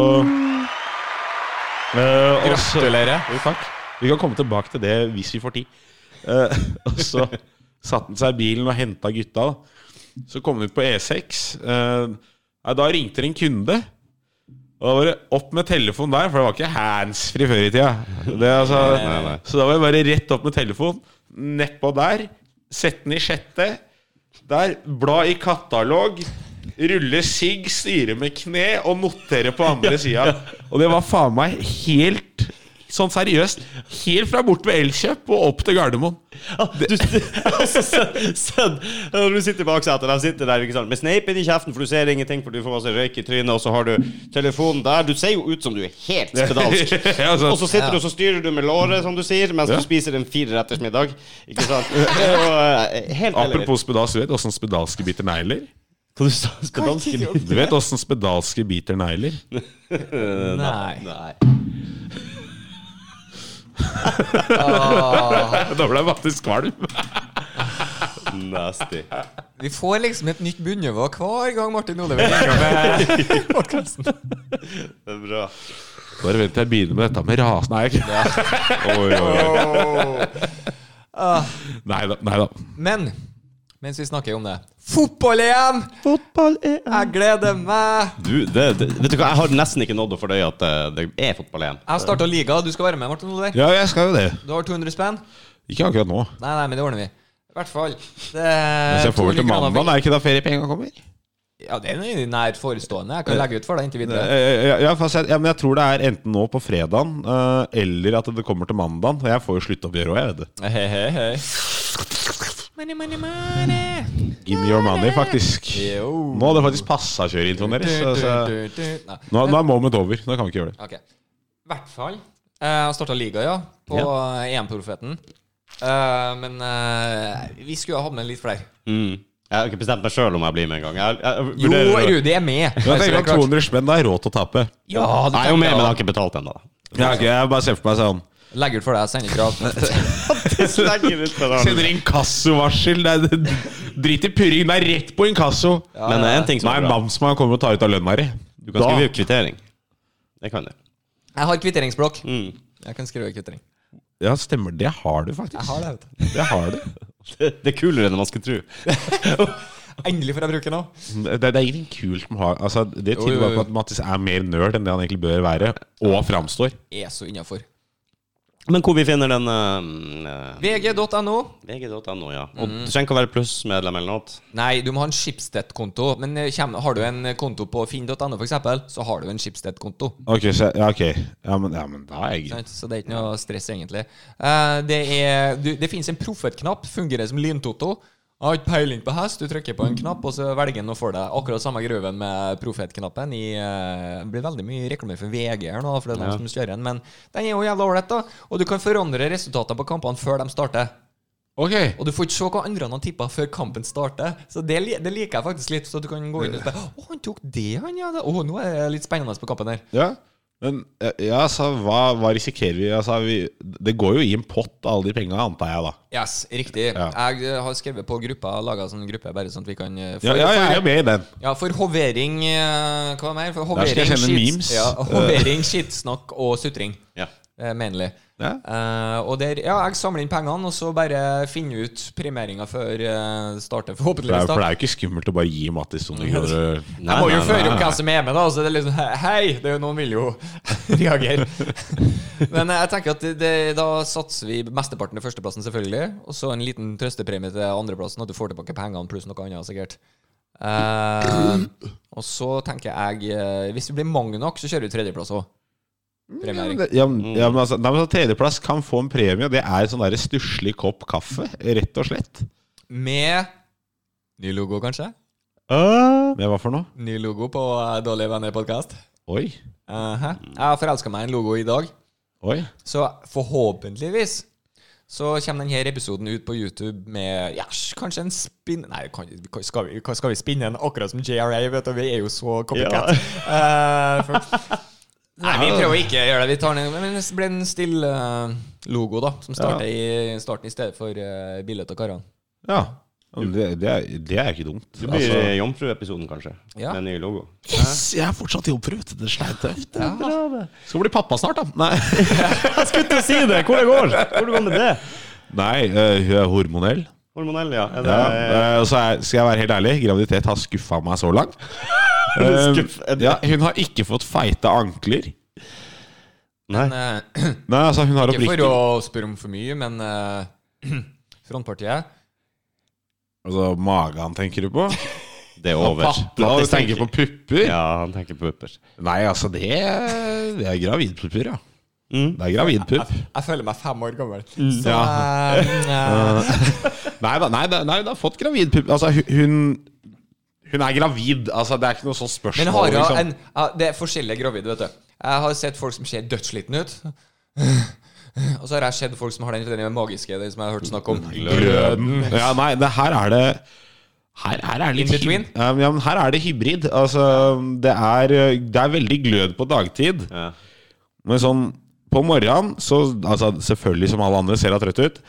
S3: eh, og så- Jo, takk. Vi kan komme tilbake til det hvis vi får tid. Eh, og så satte han seg i bilen og henta gutta. Da. Så kom han ut på E6. Eh, nei, da ringte det en kunde. Og da var det opp med telefonen der, for det var ikke handsfree før i tida. Det, altså,
S2: nei, nei.
S3: Så da var det bare rett opp med telefonen. Nedpå der. Sett den i sjette. Der. Bla i katalog. Rulle sigg, styre med kne og notere på andre sida. Og det var faen meg helt Sånn seriøst. Helt fra bort ved Elkjøp og opp til Gardermoen.
S2: Du, sånn, når du sitter bak setet, de sitter der ikke sant, med sneipen i kjeften, for du ser ingenting, for du får masse røyk i trynet, og så har du telefonen der. Du ser jo ut som du er helt spedalsk.
S3: Ja, altså, så-
S2: Og så sitter du og så styrer du med låret, som du sier, mens
S3: Ja.
S2: du spiser en fireretters middag. Ikke sant? Og, eh, helt
S3: Apropos spedalsk, du vet åssen spedalske biter negler?
S2: Hva du sa spedalsk?
S3: Du vet åssen spedalske biter negler?
S1: Nei.
S2: Nei.
S3: Da ble jeg faktisk kvalm.
S2: Nasty.
S1: Vi får liksom et nytt bunnivå hver gang Martin Oliver ringer med podkasten.
S2: Det er bra.
S3: Bare vent til jeg begynner med dette med ras... Nei, jeg- Oi, oi, oi. Nei da. Nei da.
S1: Men mens vi snakker om det Fotball-EM!
S2: Fotball er
S1: Jeg gleder meg!
S2: Du, det, det, vet du hva, jeg har nesten ikke nådd å fordøye at eh, det er fotball igjen.
S1: Jeg har starta liga. Du skal være med, Martin Oliver.
S3: Ja, jeg skal jo det.
S1: Du har 200 spenn?
S3: Ikke akkurat nå.
S1: Nei, nei, men det ordner vi. I hvert fall. Det
S3: Så jeg får vel
S1: 200
S3: til
S1: kroner
S3: mandag. Er ikke da feriepengene kommer?
S1: Ja, det er jo nært forestående. Jeg kan legge ut for deg inntil videre.
S3: Eh, Ja, ja, fast jeg, ja, men jeg tror det er enten nå på fredagen eh, eller at det kommer til mandagen. Jeg får jo sluttoppgjør òg, jeg vet det.
S1: Hei, hei, hei. Money, money, money.
S3: Give me your money, faktisk.
S1: Jo.
S3: Nå hadde det faktisk passa å kjøre introen deres. så- så-
S1: Nei.
S3: Nå, nå er moment over. Nå kan vi ikke gjøre det.
S1: Ok. I hvert fall. eh, Jeg starta liga, ja, på EM-profeten. Eh, men eh, vi skulle ha hatt med litt flere.
S2: Mm. Jeg har ikke bestemt meg sjøl om jeg blir med en gang. Jeg, jeg,
S1: Jo,
S2: vurderer-
S1: Rudi er med!
S3: Men
S1: Altså, det
S3: jeg
S1: er
S3: tenker at
S1: klart.
S3: 200 spenn, da er råd til å tape.
S1: Ja, du
S2: jeg er jo med, men jeg
S1: tenker
S2: har ikke betalt ennå.
S3: Ja, ok, jeg bare ser for meg sånn
S1: å legge ut for deg sendekrav.
S3: Sender inkassovarsel. Det er, drit i purring, det er rett på inkasso.
S2: Men det er en ting som
S3: Nei,
S2: er bra.
S3: namsmann kommer og tar ut av lønna di.
S2: Du kan skrive kvittering. Det kan du.
S1: Jeg har kvitteringsblokk. Jeg kan skrive kvittering.
S3: Ja, stemmer. Det har du faktisk.
S1: Jeg har det, vet du.
S3: Det har du.
S2: Det, det er kulere enn man skulle tro.
S1: Endelig får jeg bruke den nå.
S3: Det, det er ingenting kult med å ha altså, Det
S1: jo,
S3: tyder bare
S1: jo.
S3: på at Mattis er mer nerd enn det han egentlig bør være, og framstår.
S1: Er så innafor.
S2: Men hvor vi finner den eh, eh,
S1: VG.no.
S2: VG.no, ja. Og du trenger ikke å være plussmedlem eller noe.
S1: Nei, du må ha en Schibsted-konto. Men eh, kjem- har du en konto på finn.no, f.eks., så har du en Schibsted-konto.
S3: Ok, så, ja, ok ja, men, ja, men da er jeg
S1: Sant? Så det er ikke noe stress, egentlig. Eh, det er, du, det finnes en proffetknapp, fungerer som lyntoto. Jeg Har ikke peiling på hest, du trykker på en knapp, og så velger den å for deg. Akkurat samme gruven med proffetknappen. i, eh, Det blir veldig mye reklame for VG her nå, for det er de som kjører den, men den er jo jævla ålreit, da. Og du kan forandre resultatene på kampene før de starter.
S3: Ok
S1: Og du får ikke se hva andre har tippa før kampen starter. Så det, li- det liker jeg faktisk litt. Så du kan gå inn og spørre Å, han tok det, han, ja. Å, nå er det litt spennende på kampen her.
S3: Ja, men eh, ja, altså, hva, hva risikerer vi? Altså, vi? Det går jo i en pott, alle de penga, antar jeg, da.
S1: Yes, riktig.
S3: Ja.
S1: Jeg eh, har skrevet på gruppa, laga sånn gruppe, bare sånn at vi kan eh, få-
S3: Ja, ja, ja, jeg er med i den.
S1: Ja, for hovering eh, Hva mer? For
S3: Der skal
S1: hovering,
S3: jeg sende
S1: skits-
S3: memes.
S1: Ja, hovering, skittsnakk og sutring.
S2: Ja.
S1: eh, Mainly.
S3: Ja.
S1: Eh, og der, ja, jeg samler inn pengene, og så bare finner ut primeringa før uh, starter,
S3: For det, er,
S1: forhåpentligvis.
S3: for det
S1: da
S3: er jo ikke skummelt å bare gi Mattis 200 kroner.
S1: jeg må jo
S2: nei,
S1: føre
S2: nei,
S1: opp
S2: nei.
S1: hvem som er med, da. Så det er liksom he- Hei! Det er jo, noen vil jo reagere. Men eh, jeg tenker at det, det, da satser vi mesteparten til førsteplassen, selvfølgelig. Og så en liten trøstepremie til andreplassen, at du får tilbake pengene pluss noe annet, sikkert. Eh, og så tenker jeg eh, Hvis vi blir mange nok, så kjører vi tredjeplass òg. Premiering. Mm.
S3: Ja, men, ja, men altså, nei, men så Tredjeplass kan få en premie. Det er en sånn der stusslig kopp kaffe, rett og slett.
S1: Med ny logo, kanskje?
S3: Men hva for noe?
S1: Ny logo på eh, Dårlige venner-podkast.
S3: Oi.
S1: Eh, Jeg har forelska meg i en logo i dag.
S3: Oi.
S1: Så forhåpentligvis så kommer denne episoden ut på YouTube med ja, kanskje en spinn... Nei, kan, vi kan- skal, vi, skal vi spinne den akkurat som JRA? Vet du, vi er jo så copycat.
S2: Altså,
S1: Eh, for, nei, vi prøver ikke å gjøre det. Vi tar den, men det blir en stille eh, logo, da, som starter i starten i stedet for uh, bildet av karene.
S3: Ja. Ja, men Det, det, er, det er ikke dumt. Altså-
S2: Det blir eh, jomfruepisoden, kanskje.
S1: Ja.
S2: Med ny logo.
S3: yes, jeg er fortsatt jomfru. Det er sleit tøft. Skal bli pappa snart, da. Nei,
S2: Jeg skulle til å si det! Hvor det går Hvor det går med det?
S3: Nei eh, hun er hormonell.
S2: Hormonell, ja. Er
S3: Ja,
S2: det,
S3: eh, og så er, skal jeg være helt ærlig, graviditet har skuffa meg så langt. Eh,
S2: Skuffet.
S3: ja, hun har ikke fått feite ankler.
S2: Nei.
S1: Eh,
S3: Nei, altså hun har
S1: ikke for
S3: oppriktig
S1: å spørre om for mye, men eh, frontpartiet
S3: altså, Magen tenker du på?
S2: Det er over.
S3: Papla, du tenker på pupper?
S2: Ja, han tenker på pupper.
S3: Nei, altså det, det er gravidpupper, ja.
S2: Mm.
S3: Det er gravidpupp.
S1: Jeg føler meg fem år gammel. Så,
S3: Mm. Ja.
S1: eh,
S3: Nei da, nei, da- nei, du har fått gravidpupp. Altså hu- hun Hun er gravid. Altså Det er ikke noe sånt spørsmål.
S1: Men har jo
S3: liksom.
S1: en, ja, det er forskjellige gravide, vet du. Jeg har sett folk som ser dødssliten ut. Og så har jeg sett folk som har den, den magiske, den som jeg har hørt snakk om.
S3: Gløden. Ja, nei, det her er det her, her er det litt
S1: In between?
S3: hy- Ja, men- ja, men her er det hybrid. Altså, det er, eh, det er veldig glød på dagtid.
S2: Ja.
S3: Men sånn på morgenen så altså, Selvfølgelig, som alle andre, ser hun trøtt ut.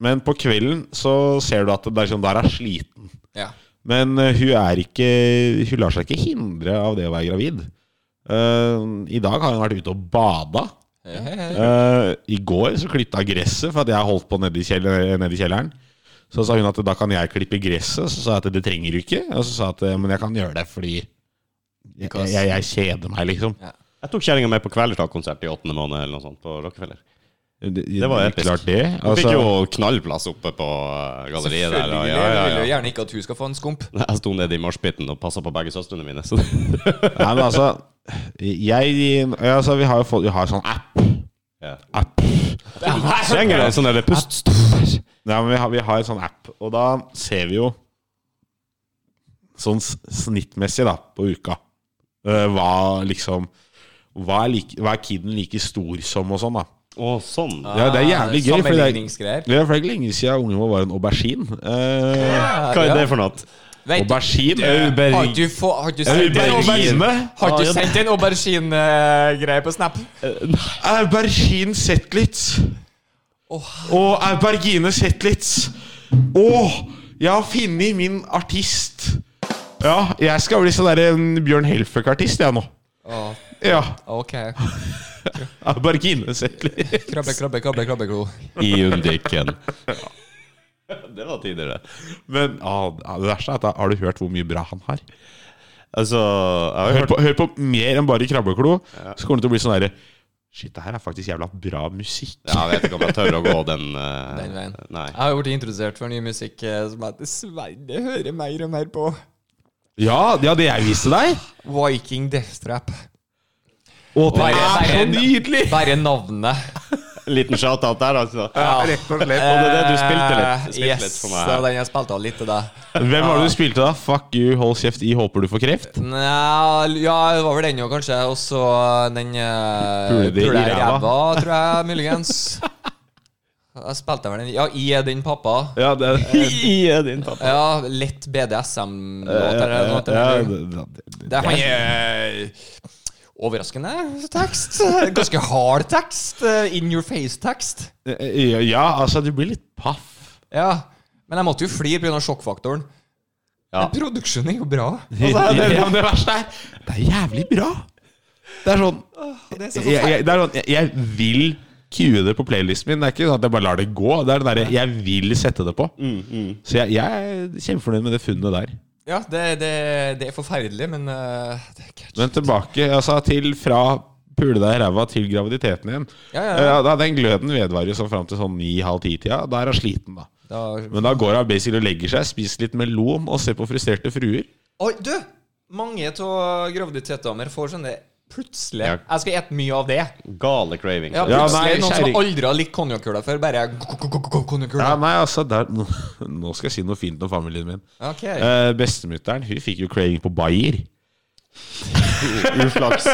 S3: Men på kvelden så ser du at det er sånn, der er sliten.
S1: Ja.
S3: Men eh, hun er ikke Hun lar seg ikke hindre av det å være gravid. Eh, I dag har hun vært ute og bada.
S1: Hei, hei, hei.
S3: Eh, I går så klippet jeg gresset For at jeg holdt på nede i, kjell eh, nede i kjelleren Så sa hun at da kan jeg klippe gresset Så sa jeg at det trenger du ikke Og så sa jeg at eh, men jeg kan gjøre det fordi Jeg, jeg, jeg kjeder meg liksom
S1: Ja.
S2: Jeg tok kjerringa med på Kvelertak-konsert i åttende måned eller noe sånt på Rockefeller.
S3: Det,
S2: var
S3: er
S2: episk.
S3: klart det
S2: Hun
S3: altså,
S2: fikk jo knallplass oppe på eh, galleriet der.
S1: Selvfølgelig
S2: og- Ja, ja,
S1: vil du
S2: ja.
S1: gjerne ikke at hun skal få en skump.
S2: Jeg sto nede i moshpiten og passa på begge søstrene mine. Så det-
S3: Nei men altså jeg, altså, vi har jo fått Vi har sånn app,
S2: ja.
S3: app.
S2: Trenger du en sånn der pust?
S3: Nei, men vi har, vi har en sånn app, og da ser vi jo sånn s- snittmessig da, på uka eh, hva liksom hva er, like, hva er kiden like stor som og sånn, da?
S2: Å, sånn.
S1: Ah,
S3: Ja, det er jævlig gøy, fordi det er-
S1: Sammenligningsgreier.
S3: Det er faktisk lenge siden ungen vår var en aubergine. Eh,
S2: Hva er det for noe?
S1: Vet du,
S3: aubergine?
S1: har du, få, har du sendt en aubergine- har du sendt en aubergine-greie på Snap?
S3: Aubergine Zetlitz.
S1: Åh.
S3: Og aubergine Zetlitz. Åh, jeg har funnet min artist. Ja, jeg skal bli sånn der en Bjørn Helføk-artist, jeg nå.
S1: Åh,
S3: Ja,
S1: ok.
S3: aubergine Zetlitz.
S1: Krabbe, krabbe, krabbe, krabbeklo.
S2: I undiken. Det var tider, det.
S3: Men ah, det verste er at da har du hørt hvor mye bra han har.
S2: Altså, jeg har
S3: Hør
S2: hørt
S3: på, hør på mer enn bare Krabbeklo, så kommer det til å bli sånn derre Shit, det her er faktisk jævla bra musikk.
S2: ja, Jeg vet ikke om jeg tør å gå den eh,
S1: Den veien.
S2: Nei.
S1: Jeg har jo blitt introdusert for ny musikk eh, som jeg dessverre hører mer og mer på.
S3: Ja, ja, det jeg viste deg.
S1: Viking Death Trap.
S3: Og det
S1: Bare-
S3: er så
S1: bare-
S3: nydelig!
S1: Bare navnet.
S2: Liten shout-out der, altså.
S3: Rett og slett.
S2: Og det er det du spilte litt, spilte
S1: Eh, yes,
S2: litt for
S1: det var
S2: meg.
S1: den jeg spilte av litt til deg.
S3: Eh, Hvem var det du spilte da? Fuck you, hold kjeft i, håper du får kreft?
S1: Nja, ja, det var vel den jo, kanskje. Og så den eh,
S3: Pule det i
S1: Pule i
S3: ræva.
S1: ræva, tror jeg, muligens. Jeg spilte vel den Ja, I er din pappa.
S3: Ja, det
S2: I din tatt.
S1: Ja, lett BDSM-låt eller noe.
S3: Ja,
S1: eller noe.
S3: det- det-
S1: Det er eh, overraskende tekst. Ganske hard tekst. eh, In your face-tekst.
S3: det- Ja, altså, du blir litt paff.
S1: Ja, men jeg måtte jo flire pga. sjokkfaktoren.
S2: Ja.
S1: Men Produksjonen er jo bra.
S3: Altså, det, det, det verste er Det er jævlig bra. Det er sånn
S1: Det er så
S3: jeg, jeg, det er sånn, jeg, jeg vil kue det på playlisten min. Det er ikke sånn at jeg bare lar det gå. Det er den derre jeg vil sette det på.
S1: Mm.
S2: Mm,
S3: Så jeg, jeg er kjempefornøyd med det funnet der.
S1: Ja, det, det, det er forferdelig, men eh, det er catchy.
S3: Men tilbake altså, til fra pule deg i ræva til graviditeten igjen.
S1: Ja, ja, ja.
S3: Eh, da, den gløden vedvarer jo sånn fram til sånn ni-halv ti-tida. Da er hun sliten, da.
S1: Da,
S3: Men da går hun basically og legger seg, spiser litt melon og ser på frustrerte fruer.
S1: Oi, du! Mange av graviditetsdamer får sånne plutselig
S2: Ja.
S1: Jeg skal ete mye av det.
S2: Gale craving.
S1: Ja,
S3: Ja,
S1: plutselig
S3: nei,
S1: Noen som
S3: skjæring.
S1: aldri har likt konjakkøla før, bare konjakkøla.
S3: Ja, nei, altså der, Nå skal jeg si noe fint om familien min.
S1: Ok.
S3: Eh, Bestemutteren hun fikk jo craving på Bayer.
S2: Uflaks.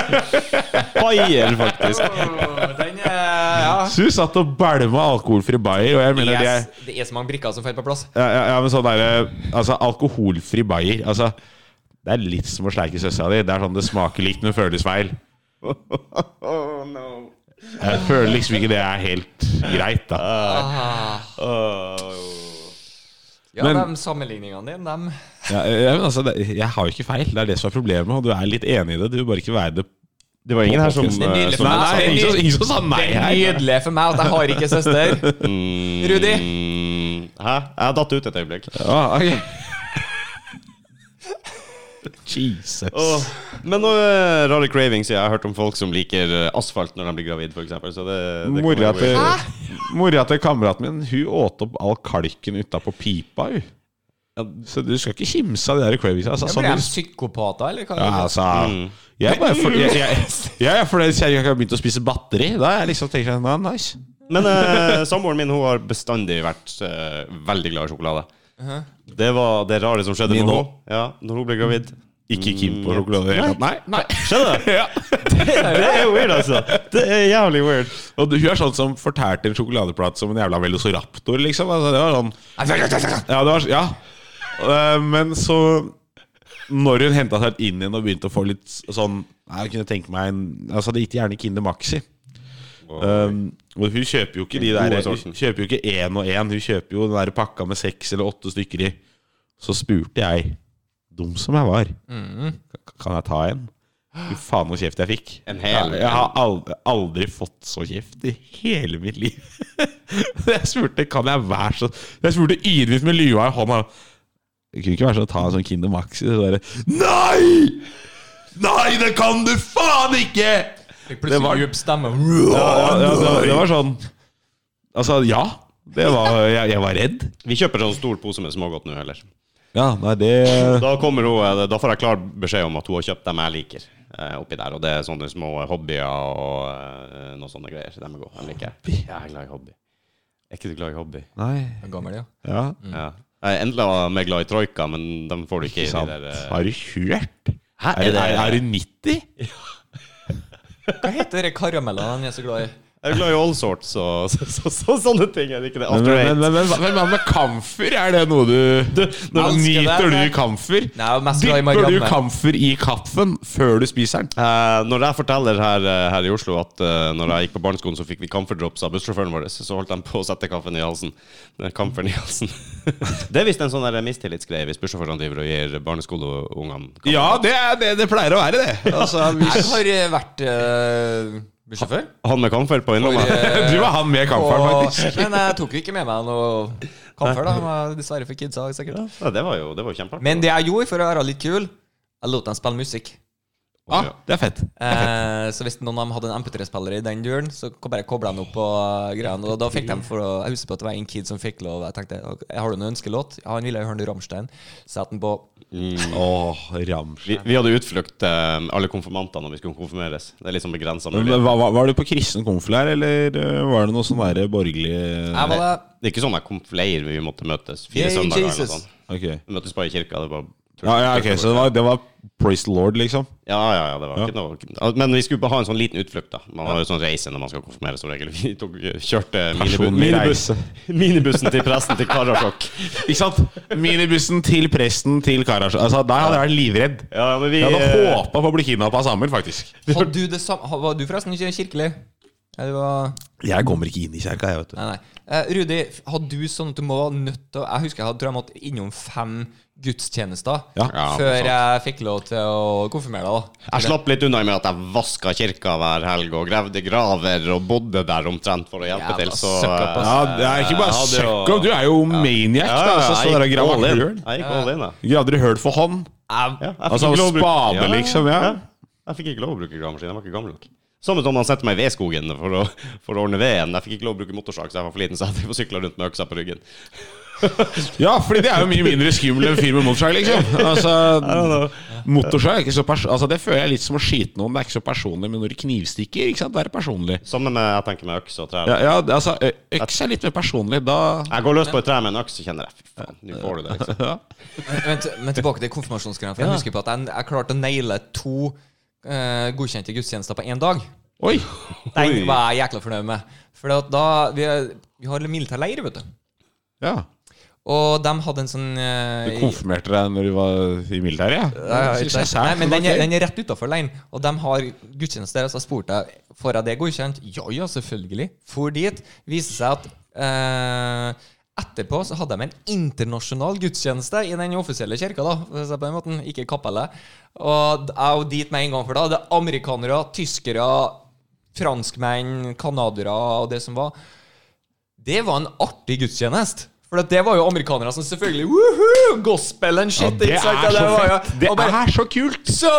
S2: Bayer, faktisk.
S1: Åh, Den er Ja.
S3: Så hun satt og bælma alkoholfri Bayer. Og jeg mener det er,
S1: Yes. Det er så mange brikker som faller på plass.
S3: ja, ja, ja, men sånn der, eh, altså, Alkoholfri Bayer altså, Det er litt som å sleike søstera di. Det er sånn det smaker likt, men føles feil.
S2: Oh, no.
S3: Jeg føler liksom ikke det er helt greit, da.
S1: Ja,
S3: Men-
S1: de sammenligningene dine, dem
S3: Ja, ja, men altså, det, jeg har jo ikke feil. Det er det som er problemet, og du er litt enig i det. Du vil bare ikke være det
S2: Det var ingen her som,
S1: Det er nydelig
S2: eh,
S1: for
S2: som
S1: meg. det
S3: Nei,
S1: er
S3: ingen, som-
S1: ny-
S3: ingen som sa nei
S1: Det er
S3: her.
S1: nydelig for meg at jeg har ikke søster. Rudi?
S2: Mm, Hæ? Jeg datt ut et øyeblikk.
S3: Ah, ok. Jesus.
S2: Åh, Men noe eh, rare cravings. Jeg har hørt om folk som liker eh, asfalt når de blir gravid, for eksempel, Så det, det kan
S3: Mora
S2: være
S3: til,
S2: weird.
S3: mora til kameraten min Hun åt opp all kalken utapå pipa. Hun. Så du skal ikke kimse av de der cravingsa. Altså,
S1: Blir de
S3: sånn,
S1: psykopater, eller hva?
S3: ja, altså, jeg, er bare for, jeg, jeg, jeg er fornøyd siden jeg ikke har begynt å spise batteri. Da har jeg liksom tenkt sånn, nah, nice
S2: Men eh, samboeren min hun har bestandig vært eh, veldig glad i sjokolade. Det var det rare som skjedde
S3: Min
S2: med
S3: også.
S2: henne ja, når hun ble gravid.
S3: Ikke keen på sjokolade. i det hele tatt. Nei, nei.
S2: Skjedde det? Det er weird, altså. Det er jævlig weird.
S3: Og du- hun er sånn som fortærte en sjokoladeplate som en jævla velociraptor, liksom. Altså, det var sånn Ja, det var, ja. Eh, Men så Når hun henta seg inn igjen og begynte å få litt sånn Nei, Jeg kunne tenke meg en Altså, det gikk gjerne Kinder Maxi. Um, og hun kjøper jo ikke de
S2: Den
S3: der
S2: gode sorten.
S3: Hun kjøper jo ikke én og én. Hun kjøper jo den der pakka med seks eller åtte stykker i. Så spurte jeg, dum som jeg var, "Ka- kan jeg ta en? Fy faen, så kjeft jeg fikk.
S2: En hel?
S3: Ja, Jeg har aldri, aldri fått så kjeft i hele mitt liv. jeg spurte kan jeg være så Jeg spurte ydmykt med lua i hånda. Det kunne ikke være sånn å ta en sånn Kinder Maxi. Så bare, Nei! Nei, det kan du faen ikke!
S1: Fikk
S3: Det var-
S1: Plutselig djup stemme.
S3: Ja, ja, det, det var sånn Altså, ja. Det var, jeg, jeg var redd.
S2: Vi kjøper sånn stor pose med smågodt nå, heller.
S3: Ja, nei, det
S2: Da, kommer hun, eh, da får jeg klar beskjed om at hun har kjøpt dem jeg liker. eh, Oppi der, og det er sånne små hobbyer og eh, noen sånne greier. De er gode. De liker jeg. Jeg er glad i hobby. Er ikke du glad i hobby?
S3: Nei.
S1: Gammel, ja.
S3: Ja.
S2: Ja. Jeg er enda mer glad i troika, men dem får du ikke i de
S3: Sant.
S2: der eh,
S3: Har du hørt?
S2: Hæ,
S3: Er, er, er du 90?
S1: Hva heter de karamellene han er så glad i?
S2: Jeg er glad i all sorts og så, så, så, sånne ting. Er det ikke det? After eight.
S3: hvem er med kamfer? Er det noe du,
S1: elsker det,
S3: Nyter du
S1: det-
S3: kamfer?
S1: Nei, jeg er mest glad i
S3: Dypper du
S1: Marianne.
S3: kamfer i kaffen før du spiser den?
S2: Eh, når jeg forteller her, eh, her i Oslo at uh, når jeg gikk på barneskolen, så fikk vi camferdrops av bussjåføren vår, så holdt de på å sette kaffen i halsen. Den Camferen i halsen. det er visst en sånn der mistillitsgreie hvis bussjåførene driver og gir barneskoleungene camfer.
S3: Ja, det, er- det, det pleier å være det. Altså,
S1: Jeg
S3: hvis,
S1: har eh, vært eh, bussjåfør.
S2: Han med camfer på innlomma?
S3: du var han med kamferen,
S1: Og,
S3: faktisk.
S1: men jeg tok jo ikke med meg noe kamfer, da. men Dessverre for kidsa, sikkert.
S2: Ja, det var jo, det var jo kjempeartig.
S1: Men det jeg gjorde for å være litt kul, jeg lot dem spille musikk.
S3: Ja, det er fett.
S1: Eh, så hvis noen av dem hadde en MP3-spiller i den duren, så ko- bare kobla de opp på eh, greiene. Og da fikk de for å, Jeg husker på at det var en kid som fikk lov. Jeg tenkte "Ok, Har du noen ønskelåt? Ja, han ville jo høre Ramstein. Satte den på.
S3: Mm. Åh, Ramsj.
S2: Vi, vi hadde utflukt eh, alle konfirmantene når vi skulle konfirmeres. Det er liksom begrensa
S3: Men
S2: mulighet.
S3: hva- hva- Var du på kristen konflær, eller eh, var det noe sånn derre borgerlig
S1: Jeg var det.
S2: Det er ikke sånn at konfleier vi måtte møtes fire
S1: Yay,
S2: søndager eller
S1: Jesus.
S2: noe sånt.
S3: Ok.
S2: Vi møttes bare i kirka. Det var
S3: Ja, ja, ok, Så det var, det var praise the lord, liksom?
S2: Ja, ja, ja, det var ikke noe Men vi skulle bare ha en sånn liten utflukt, da. Man har jo sånn reise når man skal konfirmere som regel. Vi tok, kjørte minibu-
S3: Personlig
S2: minibus,
S3: reise.
S2: minibussen til presten til Karasjok.
S3: Ikke sant? Minibussen til presten til Karasjok. Altså, der hadde jeg vært livredd.
S2: Ja, men vi
S3: Jeg hadde
S2: eh,
S3: håpa på å bli kidnappa av Samuel, faktisk.
S1: Hadde du det samme ha- Var du forresten ikke kirkelig? Ja, du var
S3: Jeg kommer ikke inn i kjerka, jeg, vet
S1: Nei, nei. Eh, Rudi, hadde du sånn at du må være nødt til å Jeg husker jeg hadde, tror jeg måtte innom fem gudstjenester
S3: Ja.
S2: Ja,
S1: før
S2: sant.
S1: jeg fikk lov til å konfirmere deg. da.
S2: Jeg slapp litt unna med at jeg vaska kirka hver helg og gravde graver og bodde der omtrent for å hjelpe
S1: Jævla
S2: til, så
S1: søkk opp, ass.
S3: Ja, det er ikke bare
S2: Jeg hadde jo-
S3: søkk opp, du er jo maniac.
S2: Ja,
S3: da, altså,
S2: jeg
S3: så der
S2: gikk
S3: gravde
S2: all in.
S3: høl.
S2: Jeg gikk all in, jeg.
S3: Gravde du høl for hånd?
S1: Jeg,
S2: Ja, jeg fikk
S3: Altså
S2: ikke lov å bruke-
S3: spade,
S2: Ja, ja,
S3: liksom? Ja.
S2: Jeg fikk ikke lov å bruke gravemaskin. Jeg var ikke gammel nok. Samme som han sendte meg i vedskogen for å, for å ordne veden. Jeg fikk ikke lov å bruke motorsag, så jeg var for liten, så jeg sykla rundt med øksa på ryggen.
S3: Ja, fordi det er jo mye mindre skummelt enn fyr med motorsag, liksom. Altså, motorsag er ikke så pers altså, Det føler jeg litt som å skyte noen. Det er ikke så personlig, men når de knivstikker, ikke sant? da er det personlig.
S2: Samme med jeg tenker med øks og trær.
S3: Ja, ja det- altså, ø- øks er litt mer personlig. Da
S2: Jeg går løs på et tre med en øks, så kjenner jeg Fy faen, nå får du det. Liksom.
S3: ja.
S1: Men, men tilbake til konfirmasjonsgreia. For jeg husker på at jeg, jeg klarte å naile to eh, godkjente gudstjenester på én dag.
S3: Oi!
S1: Den var jeg jækla fornøyd med. For at da, vi, er- vi har militær leir, vet du.
S3: Ja.
S1: Og de hadde en sånn
S3: Du
S1: eh,
S3: konfirmerte deg når du var i militæret? Ja.
S1: Ja, ja,
S3: Det synes jeg er
S1: ikke sant.
S3: sært,
S1: Nei, men den
S3: ok.
S1: er, den er rett utafor leiren, og de har gudstjeneste der. Og så spurte jeg får jeg det godkjent. Ja ja, selvfølgelig. For dit viser seg at eh, etterpå så hadde de en internasjonal gudstjeneste i den offisielle kirka, da, for å si det på den måten, ikke kapellet. Og d- jeg var dit med en gang, for da det er amerikanere, tyskere, franskmenn, canadiere og det som var. Det var en artig gudstjeneste. For at det var jo amerikanere som selvfølgelig Woohoo! Gospelen, shit!
S3: Det
S1: ikke sant?
S3: er så
S1: det var jo-
S3: fett! Det
S1: og bare,
S3: er så kult!
S1: So,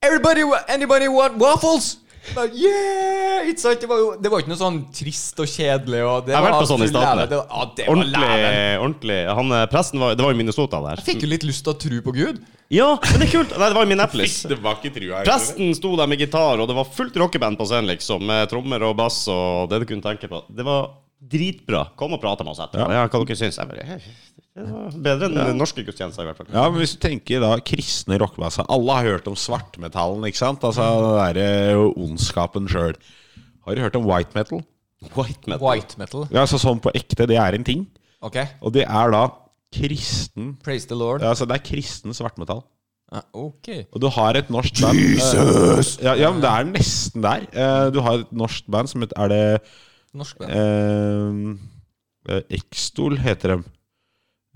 S1: everybody, wa- anybody want waffles? Bare, yeah! Ikke sant? Det var jo det var ikke noe sånn trist og kjedelig. Og det
S2: Jeg har vært
S1: var
S2: på sånn i
S1: full
S2: staten,
S1: lære.
S2: jeg.
S1: Det, var- ja, det var
S2: Ordentlig, eh,
S1: lære.
S2: ordentlig. Han, eh, presten var, det var jo Minnesota der.
S1: Fikk jo litt lyst til å tro på Gud.
S2: Ja, men det er kult. Nei, det var i Minneapolis.
S3: Det var ikke trua.
S2: Presten sto der med gitar, og det var fullt rockeband på scenen, liksom. Med trommer og bass og det du kunne tenke på. Det var dritbra. Kom og prata med oss etterpå. Ja. hva dere syns. Jeg bare, «Hei, Det var bedre enn norske gudstjenester, i hvert fall.
S3: Ja, men hvis du tenker da kristne rockebasser Alle har hørt om svartmetallen, ikke sant? Altså
S1: Mm.
S3: den derre ondskapen sjøl. Har du hørt om white metal?
S2: White metal.
S1: White metal.
S3: Ja, altså sånn på ekte, det er en ting.
S1: Ok.
S3: Og det er da kristen
S1: Praise the Lord.
S3: ja, Altså det er kristen svartmetall.
S1: Ah, ok.
S3: Og du har et norsk band Jesus! Ja, ja, men det er nesten der. Eh, Du har et norsk band som heter Er det
S1: Norsk band.
S3: eh, eh, Ekstol, heter dem.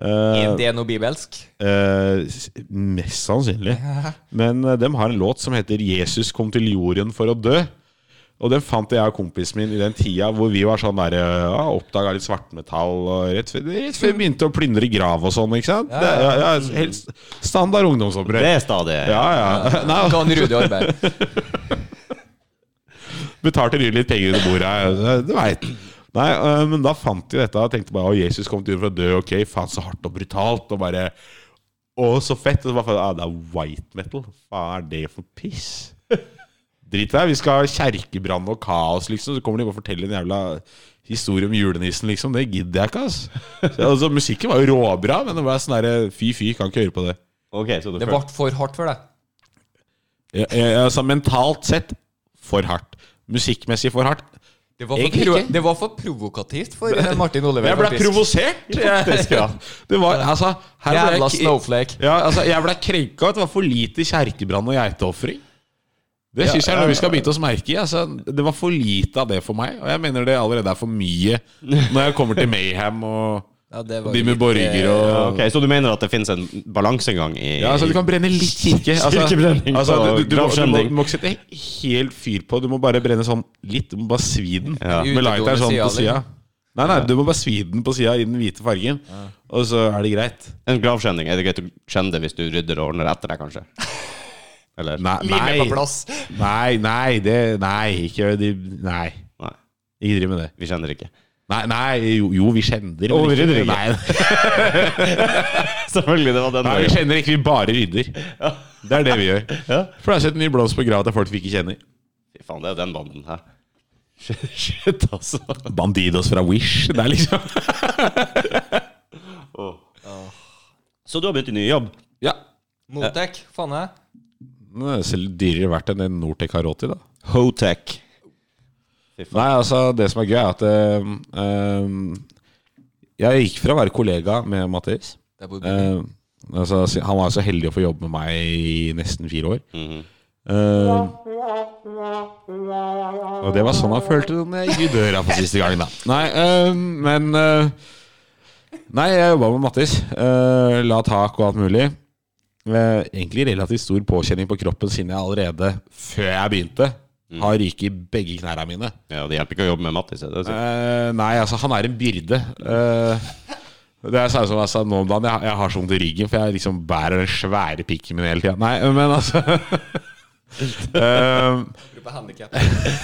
S1: Er
S3: Eh,
S1: det noe bibelsk?
S3: eh, s- mest sannsynlig. Men eh, dem har en låt som heter 'Jesus kom til jorden for å dø'. Og den fant jeg og kompisen min i den tida hvor vi var sånn der, ja, oppdaga litt svartmetall. Og rett før, rett før vi begynte å plyndre grav og sånn. ikke sant? Det, ja, ja, helt standard
S2: Det
S3: ungdomsopprør.
S2: er stadig
S3: Ja, ja. Nei,
S1: Ikke han Rudi Arbeid.
S3: betalte Ryr litt penger under bordet. eh, Du veit. Nei, eh, men da fant de dette og tenkte bare å, Jesus kom til jorden for å dø. Ok, faen så hardt og brutalt. Og bare Å, så fett. Og så bare faen, ah, det er white metal. Hva er det for piss? Drit i det. Vi skal ha kjerkebrann og kaos, liksom. Så kommer de bare og forteller en jævla historie om julenissen, liksom. Det gidder jeg ikke, ass. Så, altså. Musikken var jo råbra, men det var sånn derre fy, fy, kan ikke høre på det.
S2: Ok, så du
S1: Det
S2: føler-
S1: ble for hardt for deg.
S3: Jeg, jeg, altså, mentalt sett for hardt. Musikkmessig for hardt.
S1: Det var for,
S3: Egentlig
S1: pro
S3: ikke.
S1: det var for provokativt for eh, Martin Oliver.
S3: Jeg ble
S1: faktisk.
S3: provosert, faktisk. Ja. Det var, altså, her ble
S1: Jævla
S3: jeg, k-
S1: snowflake.
S3: ja, altså, jeg ble krenka at det var for lite kjerkebrann og geiteofring. Det syns jeg er noe vi skal bite oss merke i. Altså, det var for lite av det for meg. Og jeg mener det allerede er for mye når jeg kommer til Mayhem og
S1: Ja, det var
S3: de
S1: jo
S3: med
S1: litt,
S3: borger
S1: eh,
S3: og
S2: Ok, Så du mener at det finnes en balansegang i
S3: ja, altså Du kan brenne litt kirke. Altså,
S2: Kirkebrenning
S3: altså,
S2: og
S3: du, du, må- du, må,
S2: gravskjending.
S3: du må ikke sette helt fyr på. Du må bare brenne sånn litt. Du må bare svi den
S2: Ja.
S3: med lighteren sånn på
S1: Utegående
S3: sida.
S1: sida,
S3: Nei, nei, du må bare svi den på sida i den hvite fargen, og så er det greit.
S2: En gravskjending. Er det greit å skjenne det hvis du rydder og ordner etter deg, kanskje? Eller?
S3: Nei,
S1: Limet på
S3: nei,
S1: plass.
S3: nei, nei, det, nei ikke de, Nei,
S2: Nei,
S3: ikke driv med det.
S2: Vi kjenner ikke.
S3: Nei, nei jo, jo, vi skjender.
S2: Å,
S3: men
S2: vi rydder ikke.
S3: Nei,
S2: Selvfølgelig, det var den.
S3: nei, vi
S2: veien.
S3: skjender ikke, vi bare rydder. Det er det vi gjør.
S2: Ja.
S3: For det er sett en ny blomst på grava til folk vi ikke kjenner.
S2: Fy faen, det er den banden her. Shit, altså.
S3: Bandidos fra Wish. Det er liksom
S2: Åh. Så du har begynt i ny jobb?
S3: Ja.
S1: Motec, faen eh. jeg.
S3: Det er selv dyrere verdt enn det Nortec har råd til, da.
S2: Hotech.
S3: Nei, altså, det som er gøy, er at øhm, øhm, Jeg gikk fra å være kollega med Mathis
S1: Det er bare-
S3: øhm, altså, Han var så heldig å få jobbe med meg i nesten fire år. Øhm, og det var sånn han følte det når jeg gikk i døra for siste gang, da. Nei, øhm, men øh, Nei, jeg jobba med Mattis. øh, la tak og alt mulig. Eh, egentlig relativt stor påkjenning på kroppen siden jeg allerede, før jeg begynte, har ryket i begge knærne mine.
S2: Ja, Det hjelper ikke å jobbe med Mattis. er Det, sikkert.
S3: Eh, nei, altså, han er en byrde. Eh, det er samme som jeg sa nå om dagen. Jeg, jeg har sånn til ryggen, for jeg liksom bærer den svære pikken min hele tida. Nei, men altså Eh,
S1: Gruppe handicap.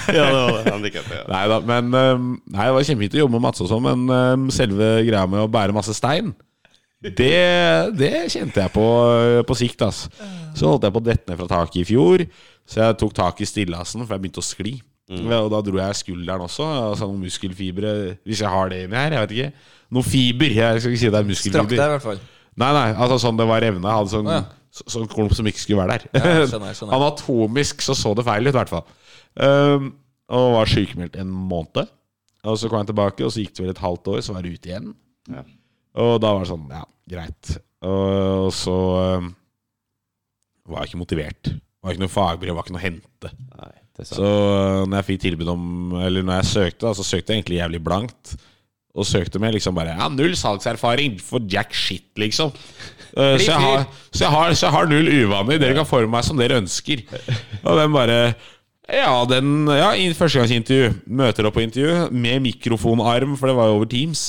S2: ja, det var det. Handikappet, ja.
S3: nei da, men eh, Nei, det var kjempefint å jobbe med Mats og sånn, men eh, selve greia med å bære masse stein, det, det kjente jeg på eh, på sikt, ass. Så holdt jeg på å dette ned fra taket i fjor, så jeg tok tak i stillasen, for jeg begynte å skli. Og da dro jeg skulderen også, altså noen muskelfibre, hvis jeg har det inni her, jeg vet ikke. Noe fiber, jeg skal ikke si det er
S1: Strakk deg,
S3: muskelfiber.
S1: i hvert fall.
S3: Nei, nei, altså sånn det var revna. Jeg hadde sånn,
S1: Å, ja.
S3: så, sånn klump som ikke skulle være der.
S1: Ja, skjønner, skjønner.
S3: Anatomisk så så det feil ut, i hvert fall. Um, og var sykemeldt en måned. Og så kom jeg tilbake, og så gikk det vel et halvt år, så var det ute igjen.
S2: Ja.
S3: Og da var det sånn, ja, greit. Og, og så um, var jeg ikke motivert. Det var ikke noe fagbrev, var ikke noe å hente.
S2: Nei, det er sant.
S3: Så øh, når jeg fikk tilbud om Eller når jeg søkte, da, så søkte jeg egentlig jævlig blankt. Og søkte med liksom bare Ja, null salgserfaring for jack shit, liksom. Eh, så, jeg har, så, jeg har, så jeg har null uvaner. Dere kan forme meg som dere ønsker. Og den bare Ja, den Ja, i førstegangsintervju. Møter opp på intervju med mikrofonarm, for det var jo over Teams.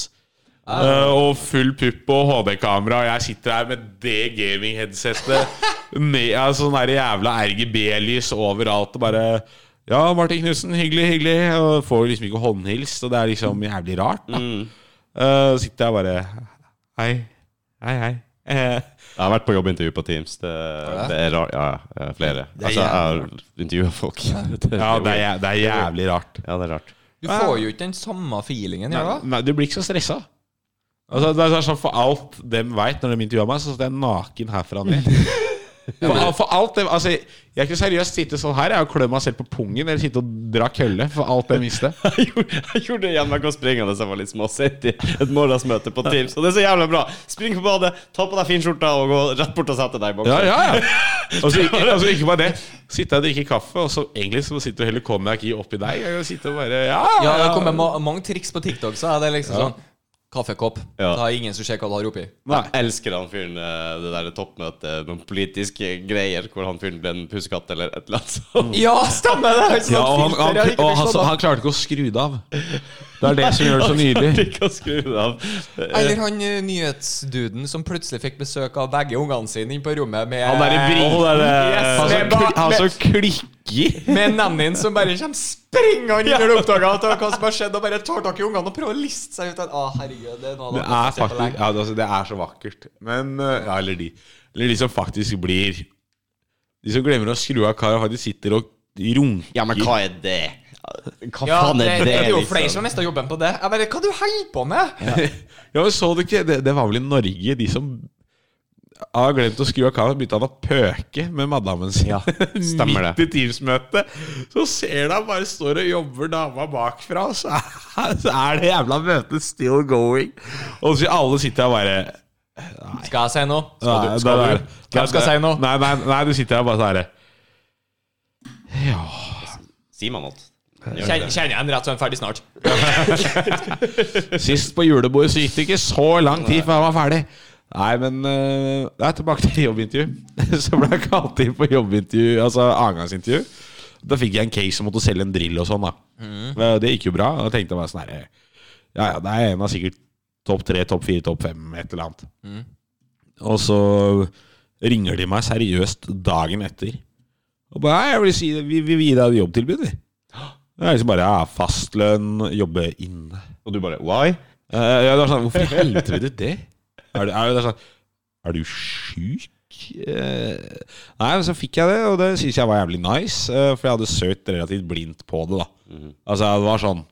S3: Eh, og full pupp og HD-kamera, og jeg sitter her med det gaming-headsetet. med ja, sånn der jævla RGB-lys overalt og bare Ja, Martin Knutsen, hyggelig, hyggelig. Og får liksom ikke håndhilst, og det er liksom jævlig rart. Da. Eh, sitter jeg bare Hei. Hei, hei. Eh,
S2: Jeg har vært på jobbintervju på Teams. Det,
S1: det?
S2: det er rart. Ja, ja, flere.
S1: er
S2: Altså, jeg har intervjua folk. Det er
S3: ja,
S2: jo-
S3: det er, det er jævlig rart.
S2: ja, det er rart.
S1: Du får jo ikke den samme feelingen, gjør du?
S3: Nei, du blir ikke så stressa. Altså, det er sånn For alt dem veit når de intervjua meg, så satt jeg naken herfra og ned. For, al- for alt dem, altså, Jeg kunne seriøst sitte sånn her Jeg og klø meg selv på pungen eller sitte og dra kølle for alt jeg visste.
S2: Jeg gjorde, jeg gjorde det igjen, men jeg kom springende så jeg var litt småsint i et morgensmøte på Teams. Og det er så jævlig bra! Spring på badet, ta på deg finskjorta og gå rett bort og sette deg i boksen.
S3: Ja, ja, ja. Og så ikke, altså, ikke bare det. Sitte og drikke kaffe, og så egentlig så sitter du og heller konjakk i oppi deg. Jeg kan sitte og bare Ja,
S1: Ja, det kommer ma mange triks på TikTok, så er det liksom sånn Kaffekopp.
S2: Ja.
S1: Da er ingen som ser hva du har oppi.
S3: Nei.
S2: Jeg elsker han fyren, eh, det der toppmøtet, noen politiske greier hvor han fyren ble en pusekatt eller et eller annet
S3: Mm.
S2: sånt.
S1: Ja, stemmer det!
S3: Ja, og han, han, og han, han klarte ikke å skru det av. Det er det som gjør
S2: Jeg
S3: det så
S2: klarte
S3: nydelig.
S2: ikke å skru det av.
S1: Eller han eh, nyhetsduden som plutselig fikk besøk av begge ungene sine inn på rommet med
S3: Han der i briten.
S2: Å, det er det-
S1: Yes,
S3: Han
S1: med,
S3: som, kli-
S1: ba-
S3: han
S1: med,
S3: som klikker.
S1: med nannyen som bare kommer springende inn når du oppdager at det er hva som har skjedd, og bare tar tak i ungene og prøver å liste seg ut av Å, herregud, det er noe
S3: Det
S1: av jeg
S3: er
S1: har sett på
S3: faktisk
S1: lenge.
S3: ja, det- altså, Det er så vakkert. Men eh, Ja, eller de. Eller de som faktisk blir De som glemmer å skru av kar og faktisk sitter og runker.
S2: Ja, men hva er det? Hva
S1: Ja,
S2: faen
S1: det,
S2: er det,
S1: det er jo flere
S2: liksom?
S1: som har mista jobben på det. Jeg bare, Hva du holder på med?
S3: Ja, men så du ikke Det, det var vel i Norge de som har glemt å skru av kameraet, begynte han å pøke med madammen sin.
S2: Ja, stemmer det.
S3: Midt i Teams-møtet. Så ser du han bare står og jobber dama bakfra, og så er, så er det jævla møtet still going. Og så alle sitter her bare
S1: Skal jeg si noe?
S3: Skal
S1: du- skal du- Hvem skal si noe?
S3: Nei, nei, nei, du sitter her bare sånn her. Ja
S2: Sier man alt? Gjør
S1: Kjenner
S2: det.
S1: kjenner jeg en rett som er ferdig snart?
S3: Sist på julebordet så gikk det ikke så lang tid før jeg var ferdig. Nei, men eh, det er tilbake til jobbintervju. så ble jeg kalt inn på jobbintervju, altså annengangsintervju. Da fikk jeg en case som måtte selge en drill og sånn, da. Eh, Det gikk jo bra. Og da tenkte jeg meg sånn herre Ja ja, det er en av sikkert topp tre, topp fire, topp fem, et eller annet. Og så ringer de meg seriøst dagen etter. Og bare «Nei, jeg vil si, vi, vi vil gi deg et jobbtilbud, vi. Det er liksom bare ja, fastlønn, jobbe inne.
S2: Og du bare why?
S3: Eh, ja, det var sånn, Hvorfor i helvete vil du det? Er du, er du, det er sånn, er du sjuk? Eh, nei, men så fikk jeg det, og det syns jeg var jævlig nice. eh, for jeg hadde søkt relativt blindt på det. da Altså, det var sånn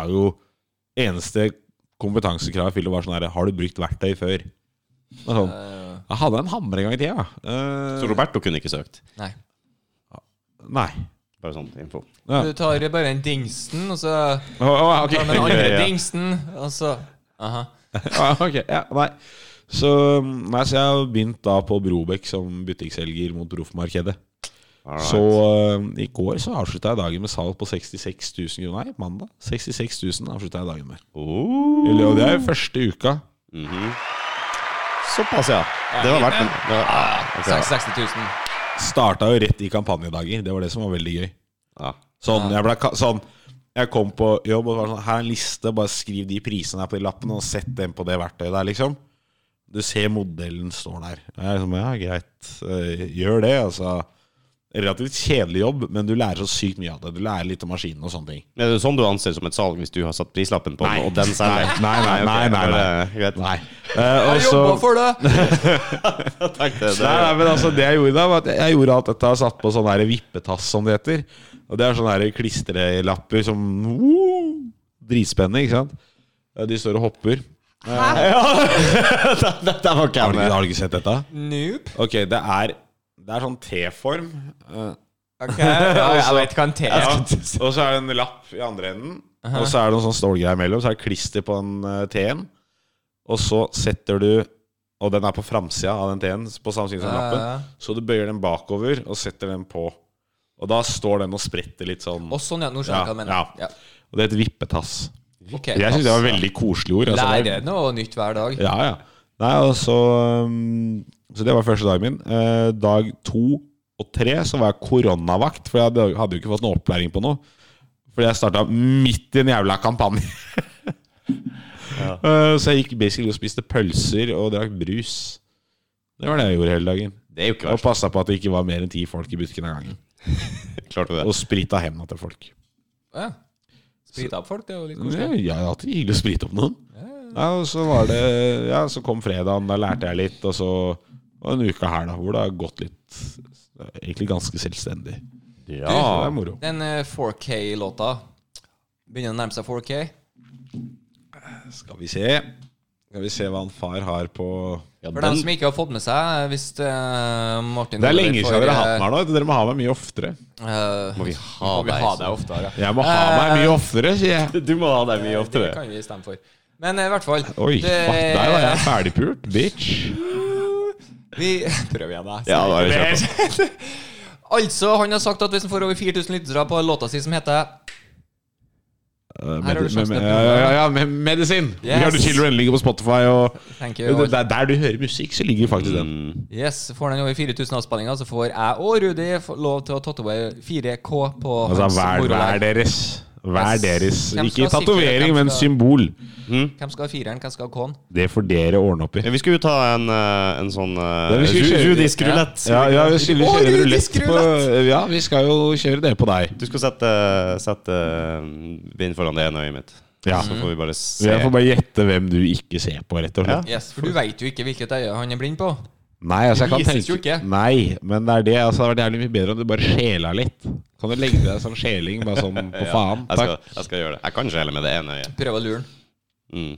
S3: er jo Eneste kompetansekravet jeg fylte, var sånn her Har du brukt verktøy før? Det
S1: Eh.
S3: var Sånn, jeg hadde en hammer en gang i tida.
S2: Så
S3: Uh,
S2: Roberto kunne ikke søkt.
S1: Nei.
S3: nei.
S2: Bare sånn info.
S3: Ja.
S1: Du tar bare den dingsen, og så
S3: Å, å, ok.
S1: tar du den andre
S2: Ja, ja.
S1: dingsen, og så Aha.
S3: Ja, ok, ja, nei så, nei, så jeg har begynt da på Brobekk som butikkselger mot proffmarkedet.
S2: Alright.
S3: Så eh, i går så avslutta jeg dagen med salg på 66 000 kroner. Nei, mandag. 66 000 avslutta jeg dagen med.
S2: Oh.
S3: Eller, Og det er jo første uka.
S2: Såpass, ja. Det var verdt en det var- ok, ja.
S1: 60 000.
S3: Starta jo rett i kampanjedager. Det var det som var veldig gøy.
S2: Ja.
S3: Sånn, jeg ble ka- sånn jeg kom på jobb og så var det sånn Her er en liste, bare skriv de prisene her på de lappene, og sett dem på det verktøyet der, liksom. sånn, Du ser modellen står der. Jeg er liksom, ja, greit, eh, gjør det, altså. relativt kjedelig jobb, men du lærer så sykt mye av det. Du lærer litt om maskinen og sånne ting.
S2: Men Er det sånn du anser som et salg hvis du har satt prislappen på den, og den selger?
S3: Nei, nei,
S2: ok,
S3: nei, nei,
S2: bare- greit.
S3: Eh, og
S1: Jeg
S3: så-
S1: jobba for det!
S2: Jeg tenkte
S3: Nei,
S2: det.
S3: nei, men altså Det jeg gjorde da, var at jeg gjorde alt dette satt på sånn der vippetass, som det heter. Og det er sånne der klistrelapper som uh, Dritspennende, ikke sant? Eh, De står og hopper.
S2: Dette var
S3: Har du,
S2: ikke
S3: ikke-
S2: jeg
S3: har du ikke sett dette?
S1: Noob.
S3: Ok, det er, det er sånn T-form. eh,
S1: Ok, ja, jeg vet hva en T er.
S3: Og så er det en lapp i andre enden. Og så er det noen sånn stålgreier imellom. Så er det klister på den eh, T-en. Og så setter du Og den er på framsida av den T-en, på samme side som
S1: Ja, ja,
S3: lappen.
S1: ja.
S3: Så du bøyer den bakover og setter den på. Og da står den og spretter litt sånn.
S1: Å, sånn, ja. Nå skjønner jeg hva du mener.
S3: Ja,
S1: Ja.
S3: Og det heter vippetass.
S1: Ok.
S3: Jeg syns det var et veldig koselig ord. altså.
S1: Lærer
S3: Det-
S1: noe nytt hver dag.
S3: Ja, ja. Nei, og så um, Så det var første dagen min. Eh, dag to og tre så var jeg koronavakt, for jeg hadde, hadde jo ikke fått noe opplæring på noe. Fordi jeg starta midt i en jævla kampanje. Eh, så jeg gikk basically og spiste pølser og drakk brus. Det var det jeg gjorde hele dagen.
S2: Det er jo ikke
S3: Og
S2: verst. Mm.
S3: passa på at det ikke var mer enn ti folk i butikken av gangen.
S2: Klarte du det?
S3: Og sprita henda til folk.
S1: Ja. Sprita opp folk, det er jo litt
S3: Ja,
S1: koselig.
S3: det er alltid hyggelig å sprite opp noen. Ja, og så var det Ja, så kom fredagen, da lærte jeg litt, og så og en uke her, da, hvor det har gått litt Egentlig ganske selvstendig. Ja, det er moro.
S1: Den eh, 4K-låta begynner å nærme seg 4K.
S3: Skal vi se Skal vi se hva han far har på
S2: Ja,
S1: For dem
S2: den,
S1: som ikke har fått med seg Hvis eh, Martin
S3: Det er
S1: Kolberg
S3: lenge
S1: får,
S3: siden dere har hatt
S1: eh,
S3: den her nå. Dere må ha meg mye oftere.
S1: eh,
S2: må vi ha
S1: må vi
S2: deg
S1: ha
S2: som-
S1: deg oftere.
S3: Jeg må ha
S1: Eh,
S3: meg mye oftere, sier jeg.
S2: Du må ha deg mye
S1: Det
S2: oftere.
S1: kan vi stemme for. Men eh, i hvert fall
S3: Oi,
S1: det-
S3: fuck deg, da. Jeg er ferdigpult, bitch.
S1: Vi prøver igjen, da.
S2: Ja, da er vi kjørt.
S1: Altså, han har sagt at hvis han får over 4000 lyttere på låta si som heter har du
S3: Medi-
S1: sjansen
S3: Eh, med-
S1: til å
S3: ja, ja, ja, med- medisin.
S1: Yes.
S3: Yes. Kilo, den ligger på Spotify. Og
S1: Thank you.
S3: det, der, der du hører musikk, så ligger faktisk den.
S1: Yes, Får den over 4000 avspillinger, så får jeg og Rudi få lov til å tatovere 4K på
S3: Altså
S1: hans
S3: hver,
S1: moro
S3: hver
S1: der.
S3: deres. Hver
S1: Yes.
S3: deres.
S1: Hvem
S3: Ikke
S1: skal sikre,
S3: tatovering,
S1: hvem
S3: men
S1: skal-
S3: symbol.
S1: Hvem skal ha fireren, hvem skal ha K-en?
S3: Det får dere ordne opp i.
S2: Ja, Vi skulle jo ta en, eh, en sånn eh,
S3: Det vi skulle
S2: ru-
S3: kjøre.
S2: rudisk rulett.
S3: Ja, ja, vi skulle
S1: Å,
S3: kjøre
S1: Rudi,
S3: rulett
S1: skru
S3: på Ja, vi skal jo kjøre det på deg.
S2: Du skal sette, sette eh, bind foran det ene øyet mitt.
S3: Ja.
S2: Så får vi bare se.
S3: Jeg får bare gjette hvem du ikke ser på, rett og slett.
S1: Yes, For du veit jo ikke hvilket øye han er blind på.
S3: Nei, altså
S1: Det
S3: jeg kan
S1: vises jo
S3: tenke
S1: ikke.
S3: Nei, men det er det. Altså, det hadde vært jævlig mye bedre om du bare sjela litt. Kan du legge deg sånn sjeling, bare sånn på faen?
S2: Jeg skal,
S3: Takk.
S2: jeg skal gjøre det. Jeg kan skjele med det ene øyet.
S1: Prøv å lure han.
S2: Mm.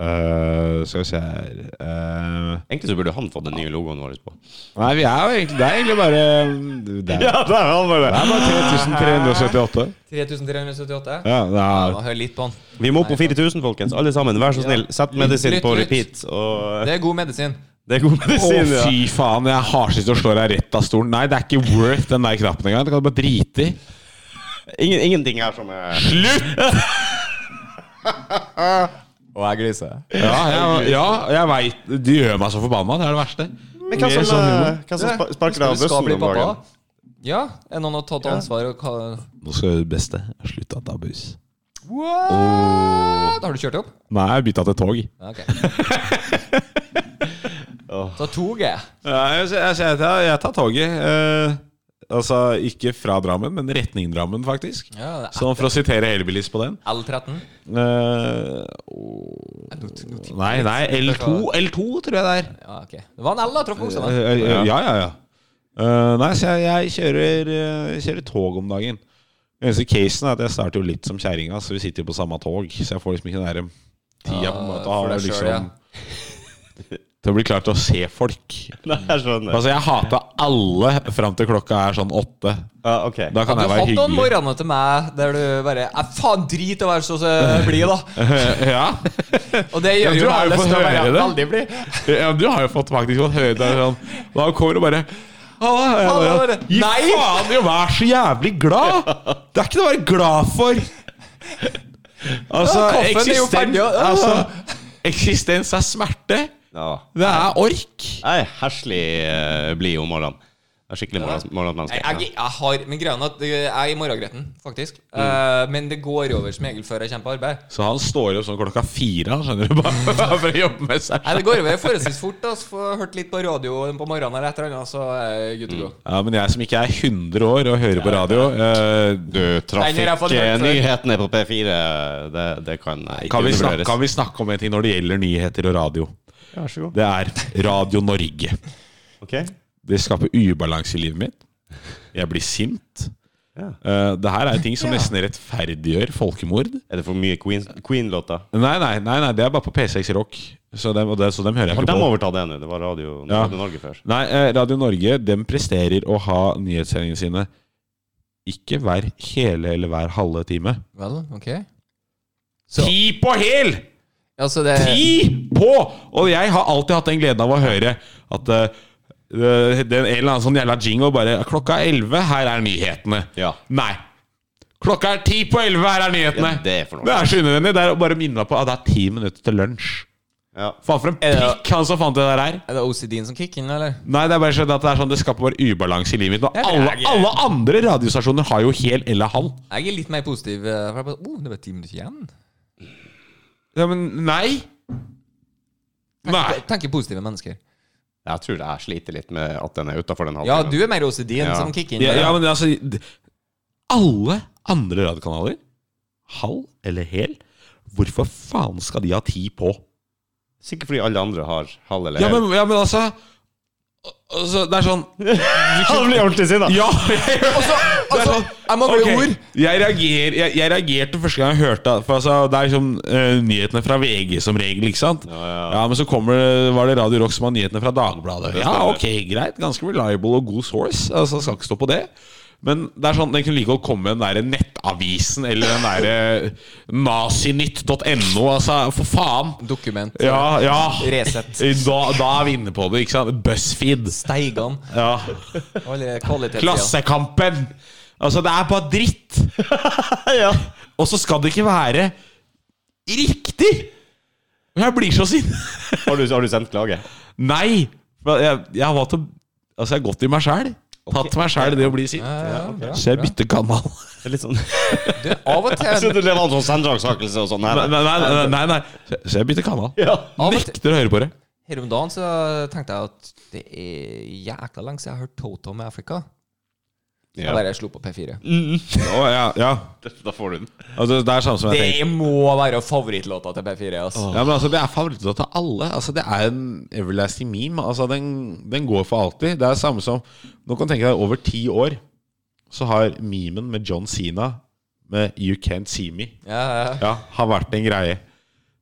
S3: Eh, skal vi se her Eh,
S2: Egentlig så burde han fått den nye logoen vår på.
S3: Nei, vi er jo egentlig Det er egentlig bare Det er,
S2: der er han
S3: det er bare 3378.
S1: 3378.
S3: Ja, det er
S1: Hør litt på han.
S2: Vi må på 4000, folkens. Alle sammen, vær så snill. Sett medisin
S1: Lytt,
S2: på
S1: lytt.
S2: repeat. Og
S1: Det er god medisin.
S2: det er god
S3: Å,
S2: medisin, ja.
S3: fy faen, jeg har sist og slår deg rett av stolen. Nei, det er ikke worth den der knappen engang. Det kan du bare drite i.
S2: Ingen, ingenting her som er Slutt!
S1: Og jeg gliser.
S3: Ja, jeg, ja, jeg veit Du gjør meg så forbanna. Det er det verste.
S2: Men hva
S3: Mer
S2: som,
S3: sånn humor.
S2: eh, hva som spa- sparker deg av bussen om dagen?
S1: Ja, er noen har tatt ansvar og hva
S3: Nå skal jeg gjøre det beste. Slutt å ta buss.
S1: What? Har du kjørt opp?
S3: Nei, jeg bytta til tog.
S1: Ja, Ok. Ta toget.
S3: Ja, jeg, jeg, jeg, jeg, jeg tar toget. Eh, altså ikke fra Drammen, men retning Drammen, faktisk.
S1: Ja, det er
S3: Sånn for å sitere Elbilist på den.
S1: L13.
S3: Eh, nei, nei, L2, L2 tror jeg det er.
S1: Ja, ok. Det var en L, da. Traff buksa. da.
S3: Eh, eh, Ja, ja, ja. Eh, nei, så jeg, jeg, kjører, eh, jeg kjører tog om dagen. Den eneste casen er at jeg starter jo litt som kjerringa, så vi sitter jo på samme tog. Så jeg får liksom ikke den der tida på en måte
S1: for
S3: å ha
S1: deg selv,
S3: liksom Til å bli klar til å se folk.
S2: Nei, jeg skjønner.
S3: Altså, jeg hater alle fram til klokka er sånn åtte.
S2: Ja, ok.
S3: Da kan
S1: Du
S3: jeg være
S1: hadde noen
S3: hyggelig.
S1: morgener til meg der du bare «Æ, Faen, drit i å være så så blid, da.
S3: ja.
S1: Og det
S3: Ja,
S1: gjør
S3: du
S1: jo
S3: har
S1: meg
S3: jo
S1: lyst
S3: fått
S1: til å være
S3: høre det.
S1: veldig blid.
S3: ja, du har jo fått faktisk fått høre det sånn. Da kommer du bare Halla, jeg
S1: Halla,
S3: bare,
S1: bare,
S3: Gi
S1: nei!»
S3: faen i å være så jævlig glad! Det er ikke noe å være glad for! Altså,
S1: Ja, kaffen er jo ferdig,
S3: eksistens,
S1: ja. Ja.
S3: altså, eksistens er smerte.
S2: Ja.
S3: Det er ork.
S2: Jeg er heslig eh, blid om morgenen. Jeg er skikkelig morgen-
S1: Nei,
S2: morgenmenneske.
S1: jeg, jeg har Men greia er at jeg er i morgengretten, faktisk.
S3: Mm.
S1: Eh, men det går over som regel før jeg kommer på arbeid.
S3: Så han står opp sånn klokka fire, han, skjønner du, bare bare for å jobbe med seg.
S1: Nei, Det går over forholdsvis fort. Da, så får jeg hørt litt på radioen på morgenen eller et eller annet, så er jeg good to go.
S3: Ja, Men jeg som ikke er 100 år og hører på radio eh,
S2: Du,
S1: Nei, når jeg får den før.
S2: trafikknyhetene eh, på P4, det, det kan jeg ikke
S3: kan, vi snakke,
S2: undervurderes.
S3: kan vi snakke om en ting når det gjelder nyheter og radio?
S2: Ja, Vær så god.
S3: Det er Radio Norge.
S2: Ok.
S3: Det skaper ubalanse i livet mitt. Jeg blir sint.
S2: Ja.
S3: Eh, det her er ting som nesten rettferdiggjør folkemord.
S2: Er det for mye Queen- Queen-låter?
S3: Nei, nei, nei, nei, det er bare på P6 Rock. Så dem, og det, så dem hører jeg
S2: Har
S3: ikke
S2: de
S3: på.
S2: overtatt det nå? Det var Radio
S3: Ja.
S2: Radio Norge før.
S3: Nei, eh, Radio Norge dem presterer å ha nyhetssendingene sine ikke hver hele eller hver halve time.
S1: Mm. Vel, ok Så-
S3: Ti på hæl!
S1: Altså, det
S3: Ti på! Og jeg har alltid hatt den gleden av å høre at eh, eh, den en eller annen sånn jævla jingo bare Klokka er elleve, her er nyhetene.
S2: Ja.
S3: Nei. Klokka er ti på elleve, her er nyhetene!
S2: Ja, det er for noe.
S3: Det er så unødvendig. Det er å bare minne meg på at det er ti minutter til lunsj.
S2: Ja.
S3: Faen for en
S1: Er det-
S3: pikk han som fant det der her.
S1: Er det OCD-en som kicker inn, eller?
S3: Nei, det er bare sånn at det er sånn Det skaper bare ubalanse i livet mitt. Og
S1: Ja, det er
S3: alle,
S1: gøy.
S3: alle andre radiostasjoner har jo hel eller halv.
S1: Jeg er litt mer positiv. eh, For jeg bare, oh, det var ti minutter igjen.
S3: Ja, men nei. Nei.
S1: Tenker, tenker positive mennesker.
S2: Jeg tror jeg sliter litt med at den er utafor den
S1: Ja,
S2: halvtimen.
S1: du er mer OCD-en
S2: Ja.
S1: som kicker inn.
S3: Ja, ja, men altså d- Alle andre radiokanaler, halv eller hel, hvorfor faen skal de ha ti på?
S2: Sikkert fordi alle andre har halv eller
S3: Ja,
S2: hel.
S3: men, ja, men altså, altså Det er sånn
S2: Han blir ordentlig sinna!
S3: Ja! Det er
S1: altså,
S3: sånn,
S1: jeg mangler
S3: ok,
S1: ord.
S3: Jeg, reager, jeg, jeg reagerte første gang jeg hørte det, For altså, Det er liksom eh, nyhetene fra VG som regel, ikke sant? Ja, Men så kommer det, var det Radio Rock som har nyhetene fra Dagbladet. Ja, ok, greit. Ganske reliable og god source. Altså, Skal ikke stå på det. Men det er sånn, den kunne like godt komme med den der nettavisen eller den eh, derre nazinytt.no. Altså, for faen!
S1: Dokument.
S3: Ja, ja.
S1: Resett.
S3: Da, da er vi inne på det, ikke sant? Buzzfeed.
S1: Steigan.
S3: Ja.
S1: og alle kvalitetssida.
S3: Klassekampen! Altså, det er bare dritt! Og så skal det ikke være riktig! Jeg blir så sint.
S2: Har, du- har du sendt klage?
S3: Nei! for Jeg, jeg har valgt å Altså, jeg har gått i meg sjæl. Tatt meg sjæl det å bli sint.
S1: Ja, ja, bra,
S3: Så jeg
S1: bra.
S3: bytter kanal.
S2: Det er litt sånn Jeg
S1: Du, Av og til
S2: synes det var en sånn sendraksakelse og sånn her.
S3: Nei, nei, nei. nei, nei. Så- Så jeg bytter kanal.
S2: Ja.
S1: Av og til
S3: Nekter å høre på det.
S1: Her om dagen så tenkte jeg at det er jækla lenge siden jeg har hørt Toto med Africa. Jeg bare slo på P4.
S3: Å, ja, ja.
S2: Da får du den.
S3: Altså, det er samme som jeg tenkte.
S1: Det må være favorittlåta til P4. ass.
S3: Ja, men altså, Det er favorittlåta til alle. Altså, Det er en everlasting meme. Altså, Den, den går for alltid. Det er samme som Nå kan du tenke deg over ti år, så har memen med John Sina med You Can't See Me
S1: Ja, ja.
S3: Ja, har vært en greie.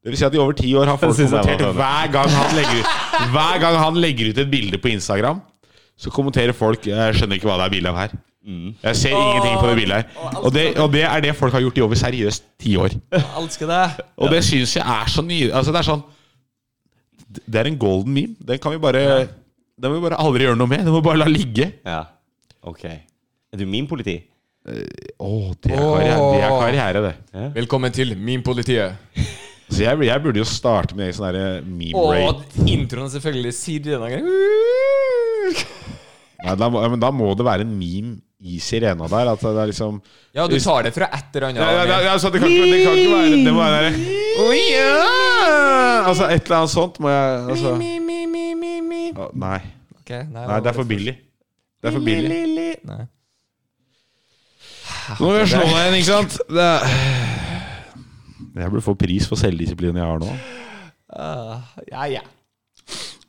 S3: Det vil si at i over ti år har folk
S2: synes jeg var sånn.
S3: kommentert
S2: spennende.
S3: hver gang han legger ut Hver gang han legger ut et bilde på Instagram. Så kommenterer folk Jeg skjønner ikke hva det er bilde av her.
S2: Mm.
S3: Jeg ser ingenting på det bildet her. Og det, og det er det folk har gjort i over seriøst ti år.
S1: Jeg elsker det.
S3: Og det syns jeg er så ny... Altså, det er sånn Det er en golden meme. Den kan vi bare Den må vi bare aldri gjøre noe med. Den må vi bare la ligge.
S2: Ja. Ok. Er du min politi?
S3: Å, det er karriere, det. Er karriere, det.
S1: Velkommen til Min politiet.
S3: Så jeg, jeg burde jo starte med en egen sånn derre meme
S1: Og
S3: rate.
S1: introen selvfølgelig sier denne gangen.
S3: Nei, da, må- ja, men da må det være en meme i sirena der. At det er liksom
S1: Ja, du tar det fra et eller annet.
S3: ja, ja, ja, ja, så altså, det, kan ikke, det kan ikke være Det må være Å ja! Altså et eller annet sånt må jeg altså.
S1: Mi, mi, mi, mi, mi.
S3: Å, Nei.
S1: Ok, nei,
S3: Nei, det er for billig. Det er for billig.
S1: Nei.
S3: Nå vil jeg slå deg igjen, ikke sant? Det er... Jeg burde få pris for selvdisiplinen jeg har nå.
S1: Ah, ja, ja.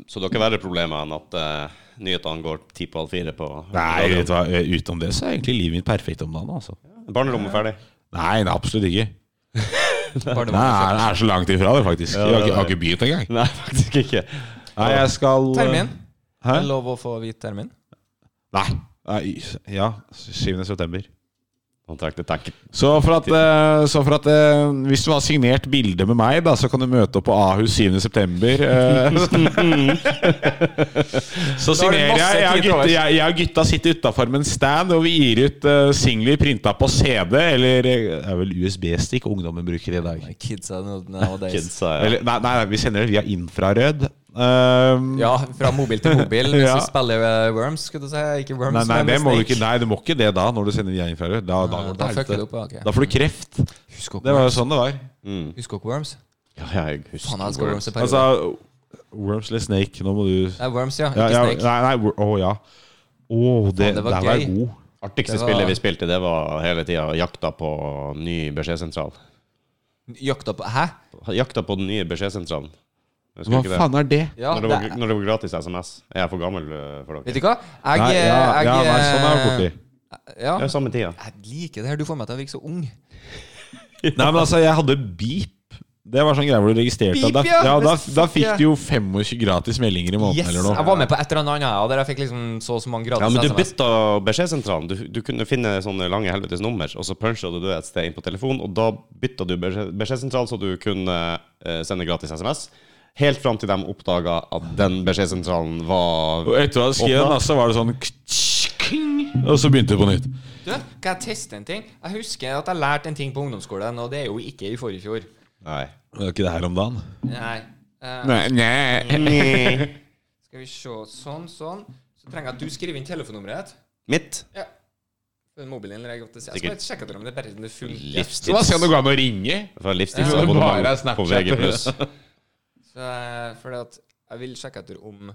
S2: Så dere har verre problemer enn at eh, nyhetene går ti på halv fire på
S3: Nei, vet du hva? Utenom det så er egentlig livet mitt perfekt om dagen. altså
S2: Barnerommet ferdig.
S3: Nei, det er absolutt ikke.
S1: Bare det
S3: Nei,
S1: var-
S3: Det er så langt ifra det, faktisk. Jeg har ikke, jeg har ikke begynt engang.
S2: Nei, faktisk ikke.
S3: Nei, jeg skal eh,
S1: Termin.
S3: Hæ?
S1: Er det lov å få vite termin?
S3: Nei. Nei. Ja, 7. september.
S2: Han trakk det tenk.
S3: Så for at, eh, så for at eh, hvis du har signert bilde med meg, da, så kan du møte opp på Ahus 7. september. eh. så
S1: Da har du
S3: signerer
S1: masse tid
S3: jeg. Jeg og
S1: til
S3: gutta,
S1: overs.
S3: jeg, jeg og gutta sitter utafor med en stand, og vi gir ut uh, singler printa på CD, eller eh, det er vel USB-stikk ungdommen bruker i dag.
S1: Kidsa nowadays.
S2: Kidsa, ja.
S3: Eller, nei, nei, nei, vi sender det via infrarød. Ehm,
S1: Ja, fra mobil til mobil. Hvis
S3: Ja.
S1: du spiller eh, Worms, skal du si. Ikke Worms,
S3: Nei, nei,
S1: men
S3: det må du
S1: Snake.
S3: ikke, nei, du må ikke det da, når du sender via infrarød. Da, da, går det
S1: Da
S3: til
S1: fucker
S3: helvete.
S1: du opp. ja, ok.
S3: da får du kreft.
S1: Husker
S3: Det
S1: dere
S3: var jo sånn det var.
S2: Mm.
S1: Husker dere Worms?
S2: Ja, jeg husker
S1: Faen, jeg elsker Worms.
S2: Worms.
S1: i perioder.
S3: Altså, Worms eller Snake, nå må du
S1: Nei, Worms, ja.
S3: ja,
S1: Ikke
S3: ja, Nei,
S1: Snake.
S3: nei, Wor- å ja. Å, det,
S1: Faen,
S3: det
S1: det
S3: var
S1: var
S3: der var
S1: gøy.
S3: jeg god.
S2: Artigste
S1: Det var-
S2: spillet vi spilte, det var hele tida jakta på ny beskjedsentral.
S1: Jakta på Hæ?
S2: Jakta på den nye beskjedsentralen. Husker
S3: Hva
S2: du ikke det?
S3: faen er det?
S1: Ja,
S2: når, det var, når det var gratis SMS. Er jeg for gammel eh, for
S1: Vet
S2: dere?
S1: du hva? Jeg, eh,
S3: Nei, ja,
S1: jeg, eh,
S3: ja, nei, sånn er det borti.
S1: Ja.
S2: Det er samme tida.
S1: Jeg liker det her. Du får meg til å virke så ung. eh,
S3: Nei, men altså, jeg hadde beep. Det var sånn greie hvor du registrerte
S1: Beep,
S3: at da,
S1: ja.
S3: ja, da,
S1: Hvis-
S3: da fikk du jo 25 gratis meldinger i måneden
S1: Yes!
S3: eller noe.
S1: Jeg var med på et eller annet annet, ja, der jeg fikk liksom så og så
S2: Ja,
S1: mange gratis
S2: men du
S1: SMS.
S2: bytta beskjedsentralen. Du, du kunne finne sånne lange helvetes nummer, og så punchet du et sted inn på telefonen, og da bytta du beskjed- beskjedsentral, så du kunne eh, sende gratis SMS. Helt fram til de oppdaga at den beskjedsentralen var
S3: Og etter å ha skrevet den, da, så var det sånn k-tsk-king, Og så begynte det på nytt.
S1: Du, kan jeg teste en ting? Jeg husker at jeg lærte en ting på ungdomsskolen, og det er jo ikke i forrige fjor.
S2: Nei.
S3: Men det var ikke det her om dagen.
S1: Nei. Eh,
S3: Nei, nei.
S1: skal vi se. Sånn, sånn. Så trenger jeg at du skriver inn telefonnummeret ditt.
S2: Mitt
S1: Ja. Den Mobilen eller jeg godt til å si. Jeg skal
S2: Sikkert.
S1: bare sjekke om det er bare den er full.
S3: Så da
S2: livstids.
S3: skal det gå an å
S2: Fra
S3: ringe. Ja, det var bare
S2: livstidsabonnement
S3: Snapchat.
S2: på VG+.
S1: Så, eh, fordi at jeg vil sjekke etter om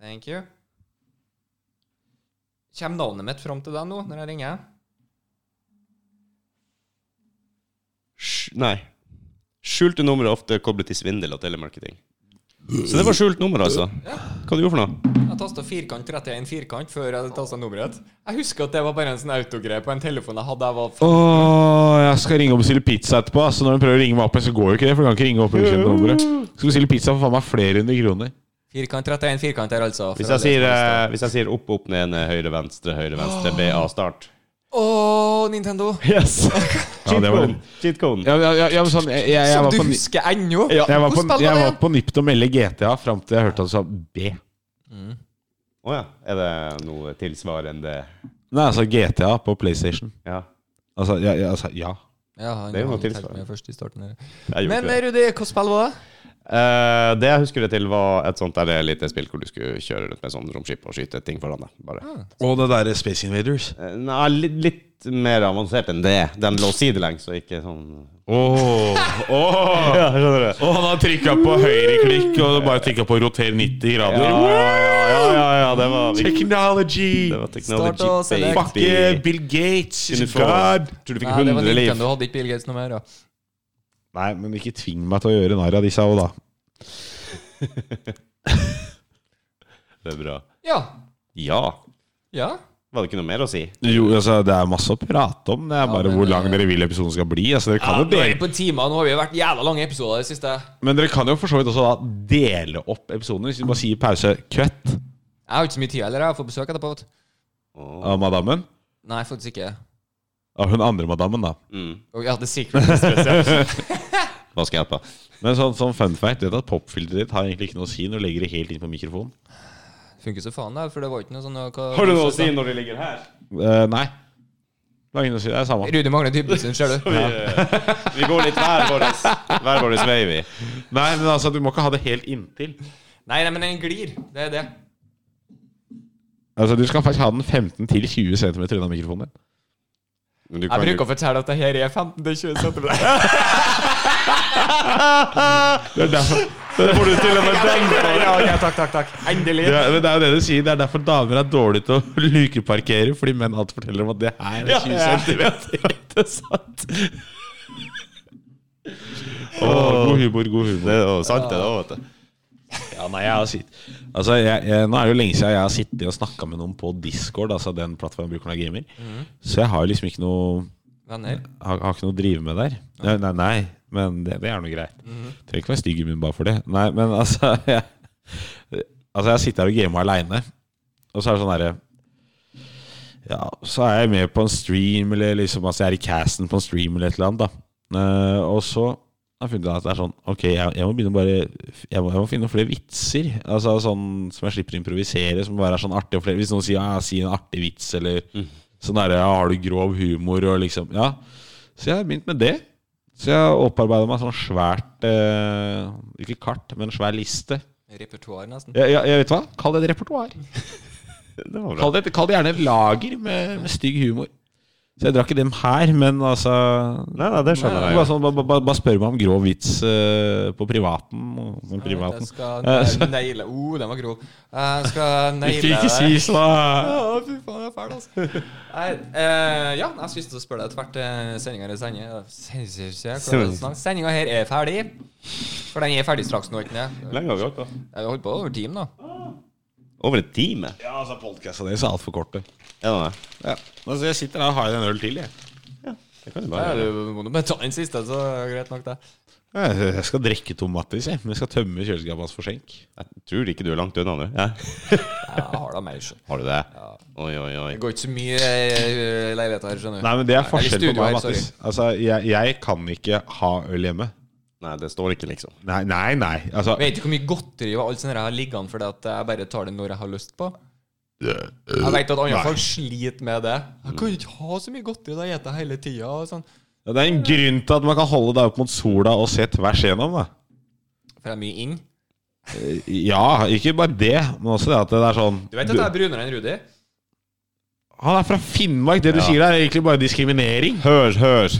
S1: Thank you. Kjem navnet mitt fram til deg nå, når jeg ringer?
S2: Sk- Nei. Skjulte numre er ofte koblet til svindel og telemarketing. Så det var skjult nummer, altså. Hva du gjorde for noe?
S1: Jeg tasta firkant 31 firkant før jeg tasta nummeret. Jeg husker at det var bare en sånn autogreie på en telefon jeg hadde. Jeg var f-
S3: Åh, jeg skal ringe og bestille pizza etterpå. ass. Så når hun prøver å ringe meg opp, igjen, så går jo ikke det. For hun kan ikke ringe opp under kjente nummeret. Skal bestille pizza for faen meg flere hundre kroner.
S1: Firkant 31 firkant her, altså.
S2: Hvis jeg sier, eh, hvis jeg sier opp, opp, ned, ned, høyre, venstre, høyre, venstre, BA, start.
S1: Å, Nintendo!
S2: Yes!
S3: Ja, det var
S2: Cheatcode.
S3: det.
S2: Cheatcode.
S3: Ja, ja, ja, ja, men sånn, jeg, jeg, jeg
S1: Som
S3: var
S1: du
S3: på ni-
S1: husker ennå!
S3: jeg var på,
S1: Hvordan spiller
S3: jeg
S1: man
S3: var
S1: det?
S3: på nippet til å melde GTA fram til jeg hørte at du sa B.
S2: Å ja. Er det noe tilsvarende
S3: Nei, altså GTA på PlayStation.
S2: Ja.
S3: Altså, ja. ja, altså, ja.
S1: Ja, han,
S2: Det er jo noe
S1: han tenkte
S2: tilsvarende.
S1: meg først i starten her.
S2: Jeg gjorde
S1: Men eh,
S2: ikke det.
S1: Rudi, hva spill var det?
S2: Eh, det jeg husker det til, var et sånt der eh, lite spill hvor du skulle kjøre rundt med sånn romskip og skyte ting foran deg. Bare.
S1: Ah.
S3: Og det derre Space Invaders.
S2: Eh, Nei, litt, litt mer avansert enn det. Den lå sidelengs og ikke sånn
S3: Åh, åh.
S2: Ja, skjønner du.
S3: Og han har trykka på høyreklikk og bare trykka på roter 90
S2: Ja,
S3: grader.
S2: ja, ja, ja, ja, det var
S3: Technology!
S2: Det var
S1: Start å
S2: technology
S1: selge.
S3: Fuck yeah, Bill Gates is
S2: Kunne få-
S3: god!
S2: Tror du fikk
S1: Nei, det var
S2: 100 liv?
S1: Nintendo, hadde ikke Bill Gates noe mer. Ja.
S3: Nei, men ikke tving meg til å gjøre narr av disse òg, da.
S2: Det er bra.
S1: ja.
S2: Ja.
S1: Ja.
S2: Var det ikke noe mer å si?
S3: Jo, altså, Det er masse å prate om. Det er bare
S1: men,
S3: hvor
S1: eh,
S3: lang dere vil episoden skal bli. Altså, dere
S1: ja
S3: kan jo
S1: nå er vi
S3: dele,
S1: på timer, nå har vi vært jævla lange episoder i det siste.
S3: men dere kan jo for så vidt også da dele opp episoden. Hvis du bare sier pause cut
S1: Jeg har ikke så mye tid heller, jeg får besøk etterpå. vet du.
S2: Åh.
S3: av madammen
S1: Nei, faktisk ikke.
S3: Av hun andre madammen, da.
S2: Mm.
S1: Og ja, The Secret Mistress, ja.
S2: Hva skal jeg hjelpe?
S3: Men sånn, sånn fun fact, du vet at popfilteret ditt har egentlig ikke noe å si når du legger det helt inn på mikrofonen?
S1: Funker så faen, det, for det var ikke noe sånn hva,
S2: når de ligger her?
S3: Eh, nei. Det har ingen å si. Det er samme.
S1: Rudi mangler dybden sin, ser du.
S2: Vi, vi går litt hver vår Hver vår vei, vi.
S3: Nei, men altså, du må ikke ha det helt inntil.
S1: Nei, nei, men den glir. Det er det.
S3: Altså, Du skal faktisk ha den 15-20 cm unna mikrofonen. din.
S2: Men du
S1: Jeg
S2: kan jo
S1: bruker å fortelle at det her er 15-20 cm.
S3: Det er derfor Det får du til og med den på.
S1: Ja, ok, takk, takk, takk. Endelig.
S3: Det er, men det er jo det du sier. Det er derfor damer er dårlige til å lukeparkere, fordi menn alltid forteller om at det her er 20 cm.
S2: Det er sant.
S3: god humor, god humor.
S2: Det er jo sant, det da, vet du.
S3: Ja, nei, jeg har sitt... Altså, jeg, jeg, nå er det jo lenge siden jeg har sittet og snakka med noen på Discord, altså den plattformen brukeren av gamer,
S2: Mhm.
S3: så jeg har liksom ikke noe
S1: Venner.
S3: har, har ikke noe å drive med der. Nei, nei, nei men det, det er noe greit. Trenger ikke være stygg i munnen bare for det. Nei, men altså Jeg, altså, jeg sitter her og gamer aleine, og så er det sånn herre Ja, så er jeg med på en stream, eller liksom altså, jeg er i casten på en stream eller et eller annet, da. Eh, og så har jeg funnet ut at det er sånn Ok, jeg, jeg må begynne å bare jeg må, jeg må finne noen flere vitser. Altså sånn som jeg slipper å improvisere, som bare er sånn artig og flere Hvis noen sier ja, si en artig vits, eller sånn derre ja, har du grov humor og liksom Ja. Så jeg har begynt med det. Så jeg opparbeida meg sånn svært eh, Ikke kart, men svær liste.
S1: Repertoar, nesten.
S3: Jeg, jeg, jeg vet hva? Kall det et repertoar.
S2: Det var bra.
S3: Kall det, et- kall det gjerne et lager med, med stygg humor. Så jeg drakk ikke dem her, men altså
S2: Nei, nei, det skjønner jeg.
S3: Bare, sånn, bare, bare, bare spør meg om grov vits eh, på privaten. og Sånn privaten.
S1: Jeg skal naile Oh, den var grov. Jeg skal naile
S3: Ikke, ikke si
S1: det.
S3: sånn.
S1: Å, fy faen, jeg er fæl, altså. Nei, eh, ja, jeg skulle til å spørre deg etter hvert eh, sendinga eller sendinga Sendinga her er ferdig. For den er ferdig straks nå, ikke sant?
S2: Hvor lenge har vi holdt på?
S1: Vi holdt på over timen, da.
S2: Over en time?
S3: Ja, altså, Podkasta deres er altfor korte.
S2: Er det det?
S3: Ja. Altså, jeg sitter her og har en øl til, jeg.
S2: Det kan du
S1: Ja,
S2: bare
S1: du må nå bare ta den siste, så er det greit nok, det.
S3: Jeg jeg skal drikke Tom Mattis, jeg. Men jeg skal tømme kjøleskapet hans for skjenk.
S2: Jeg tror ikke du er langt unna nå. Ja.
S1: Jeg har da mer, skjønner
S2: Har du det? Oi, oi, oi.
S1: Det går ikke så mye eh, leiligheter her, skjønner du.
S3: Nei, men det er
S1: Eller
S3: forskjell på
S1: studio
S3: meg og
S1: her,
S3: Mattis. Altså, jeg, jeg kan ikke ha øl hjemme.
S2: Nei, det står ikke, liksom.
S3: Nei, nei. nei. Altså,
S1: Jeg vet ikke hvor mye godteri og alt sånt her jeg har liggende fordi at jeg bare tar det når jeg har lyst på. Jeg vet at andre
S3: Nei.
S1: folk sliter med det. Jeg kan ikke ha så mye godteri, da spiser jeg hele tida. Sånn.
S3: det er en grunn til at man kan holde deg opp mot sola og se tvers igjennom. Da. Eh,
S1: For jeg er mye inn.
S3: Ja, ikke bare det, men også det at det er sånn
S1: Du vet at jeg er brunere enn Rudi?
S3: Han er fra Finnmark! Det du sier der, er egentlig bare diskriminering.
S2: Hør, hør.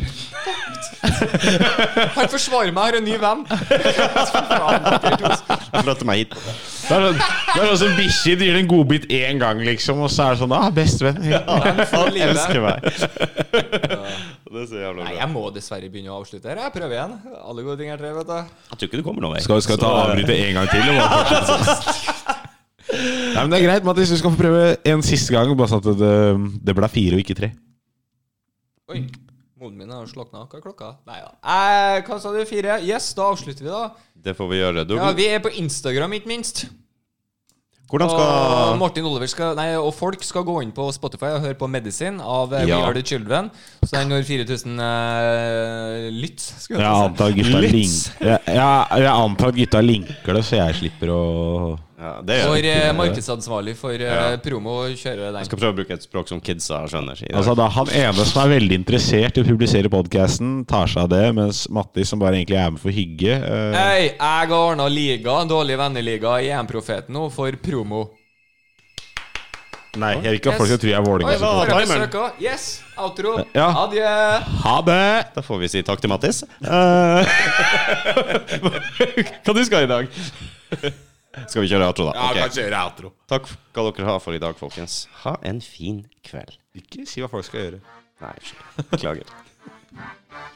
S1: Han forsvarer meg, har en ny venn. Faen, dere to.
S2: Jeg flytter meg hit.
S3: Det er sånn, det er sånn som bikkjer de gir en godbit én gang, liksom, og så er det sånn ah, Bestevenn.
S1: Faen, livet.
S2: Elsker meg. Det er så jævla
S1: Nei,
S2: bra.
S1: jeg må dessverre begynne å avslutte her. Jeg prøver igjen. Alle gode ting er tre, vet du.
S2: Jeg tror ikke du kommer noen vei.
S3: Skal, skal vi ta
S2: Så-
S3: avbryte en gang til? Eller bare fortsette sist? Nei, men Det er greit, Mattis. Du skal få prøve en siste gang. Bare sånn at det, det ble fire og ikke tre.
S1: Oi. Moden min har slokna. Hva er klokka? Nei da. Eh, hva sa du? Fire? Yes, da avslutter vi, da.
S2: Det får vi gjøre. Du,
S1: Ja, Vi er på Instagram, ikke minst.
S2: hvordan
S1: Og
S2: skal
S1: Martin Oliver skal Nei, og folk skal gå inn på Spotify og høre på Medisin av eh, We
S2: Ja.
S1: Are The Children. Så den når 4000 eh, lytt, skulle
S3: Jeg
S1: jeg til å
S3: antar
S1: si.
S3: gutta,
S1: Lytt.
S3: link, jeg, jeg, jeg antar at gutta linker det, så jeg slipper å
S2: ja, det gjør
S1: For
S2: jeg.
S1: eh, markedsansvarlig for eh, promo kjører
S2: Jeg
S1: den.
S2: skal prøve å bruke et språk som kidsa skjønner. i dag.
S3: Altså da Han ene som er veldig interessert i å publisere podkasten, tar seg av det, mens Mattis, som bare egentlig er med for hygge eh,
S1: Hei, jeg har ordna liga, dårlig venneliga, i EM-profeten nå, for promo.
S3: Nei, jeg vil ikke at folk skal tro jeg er
S1: Oi,
S3: Vålerenga.
S1: får jeg
S2: timeren.
S1: besøk også? Yes, outro.
S3: Ja.
S1: Adjø.
S3: Ha det!
S2: Da får vi si takk til Mattis. Eh, Hva du skal i dag? Skal vi kjøre outro, da? Ok.
S3: gjøre outro.
S2: Takk skal dere ha for i dag, folkens. Ha en fin kveld.
S3: Ikke si hva folk skal gjøre.
S2: Nei, unnskyld. Beklager.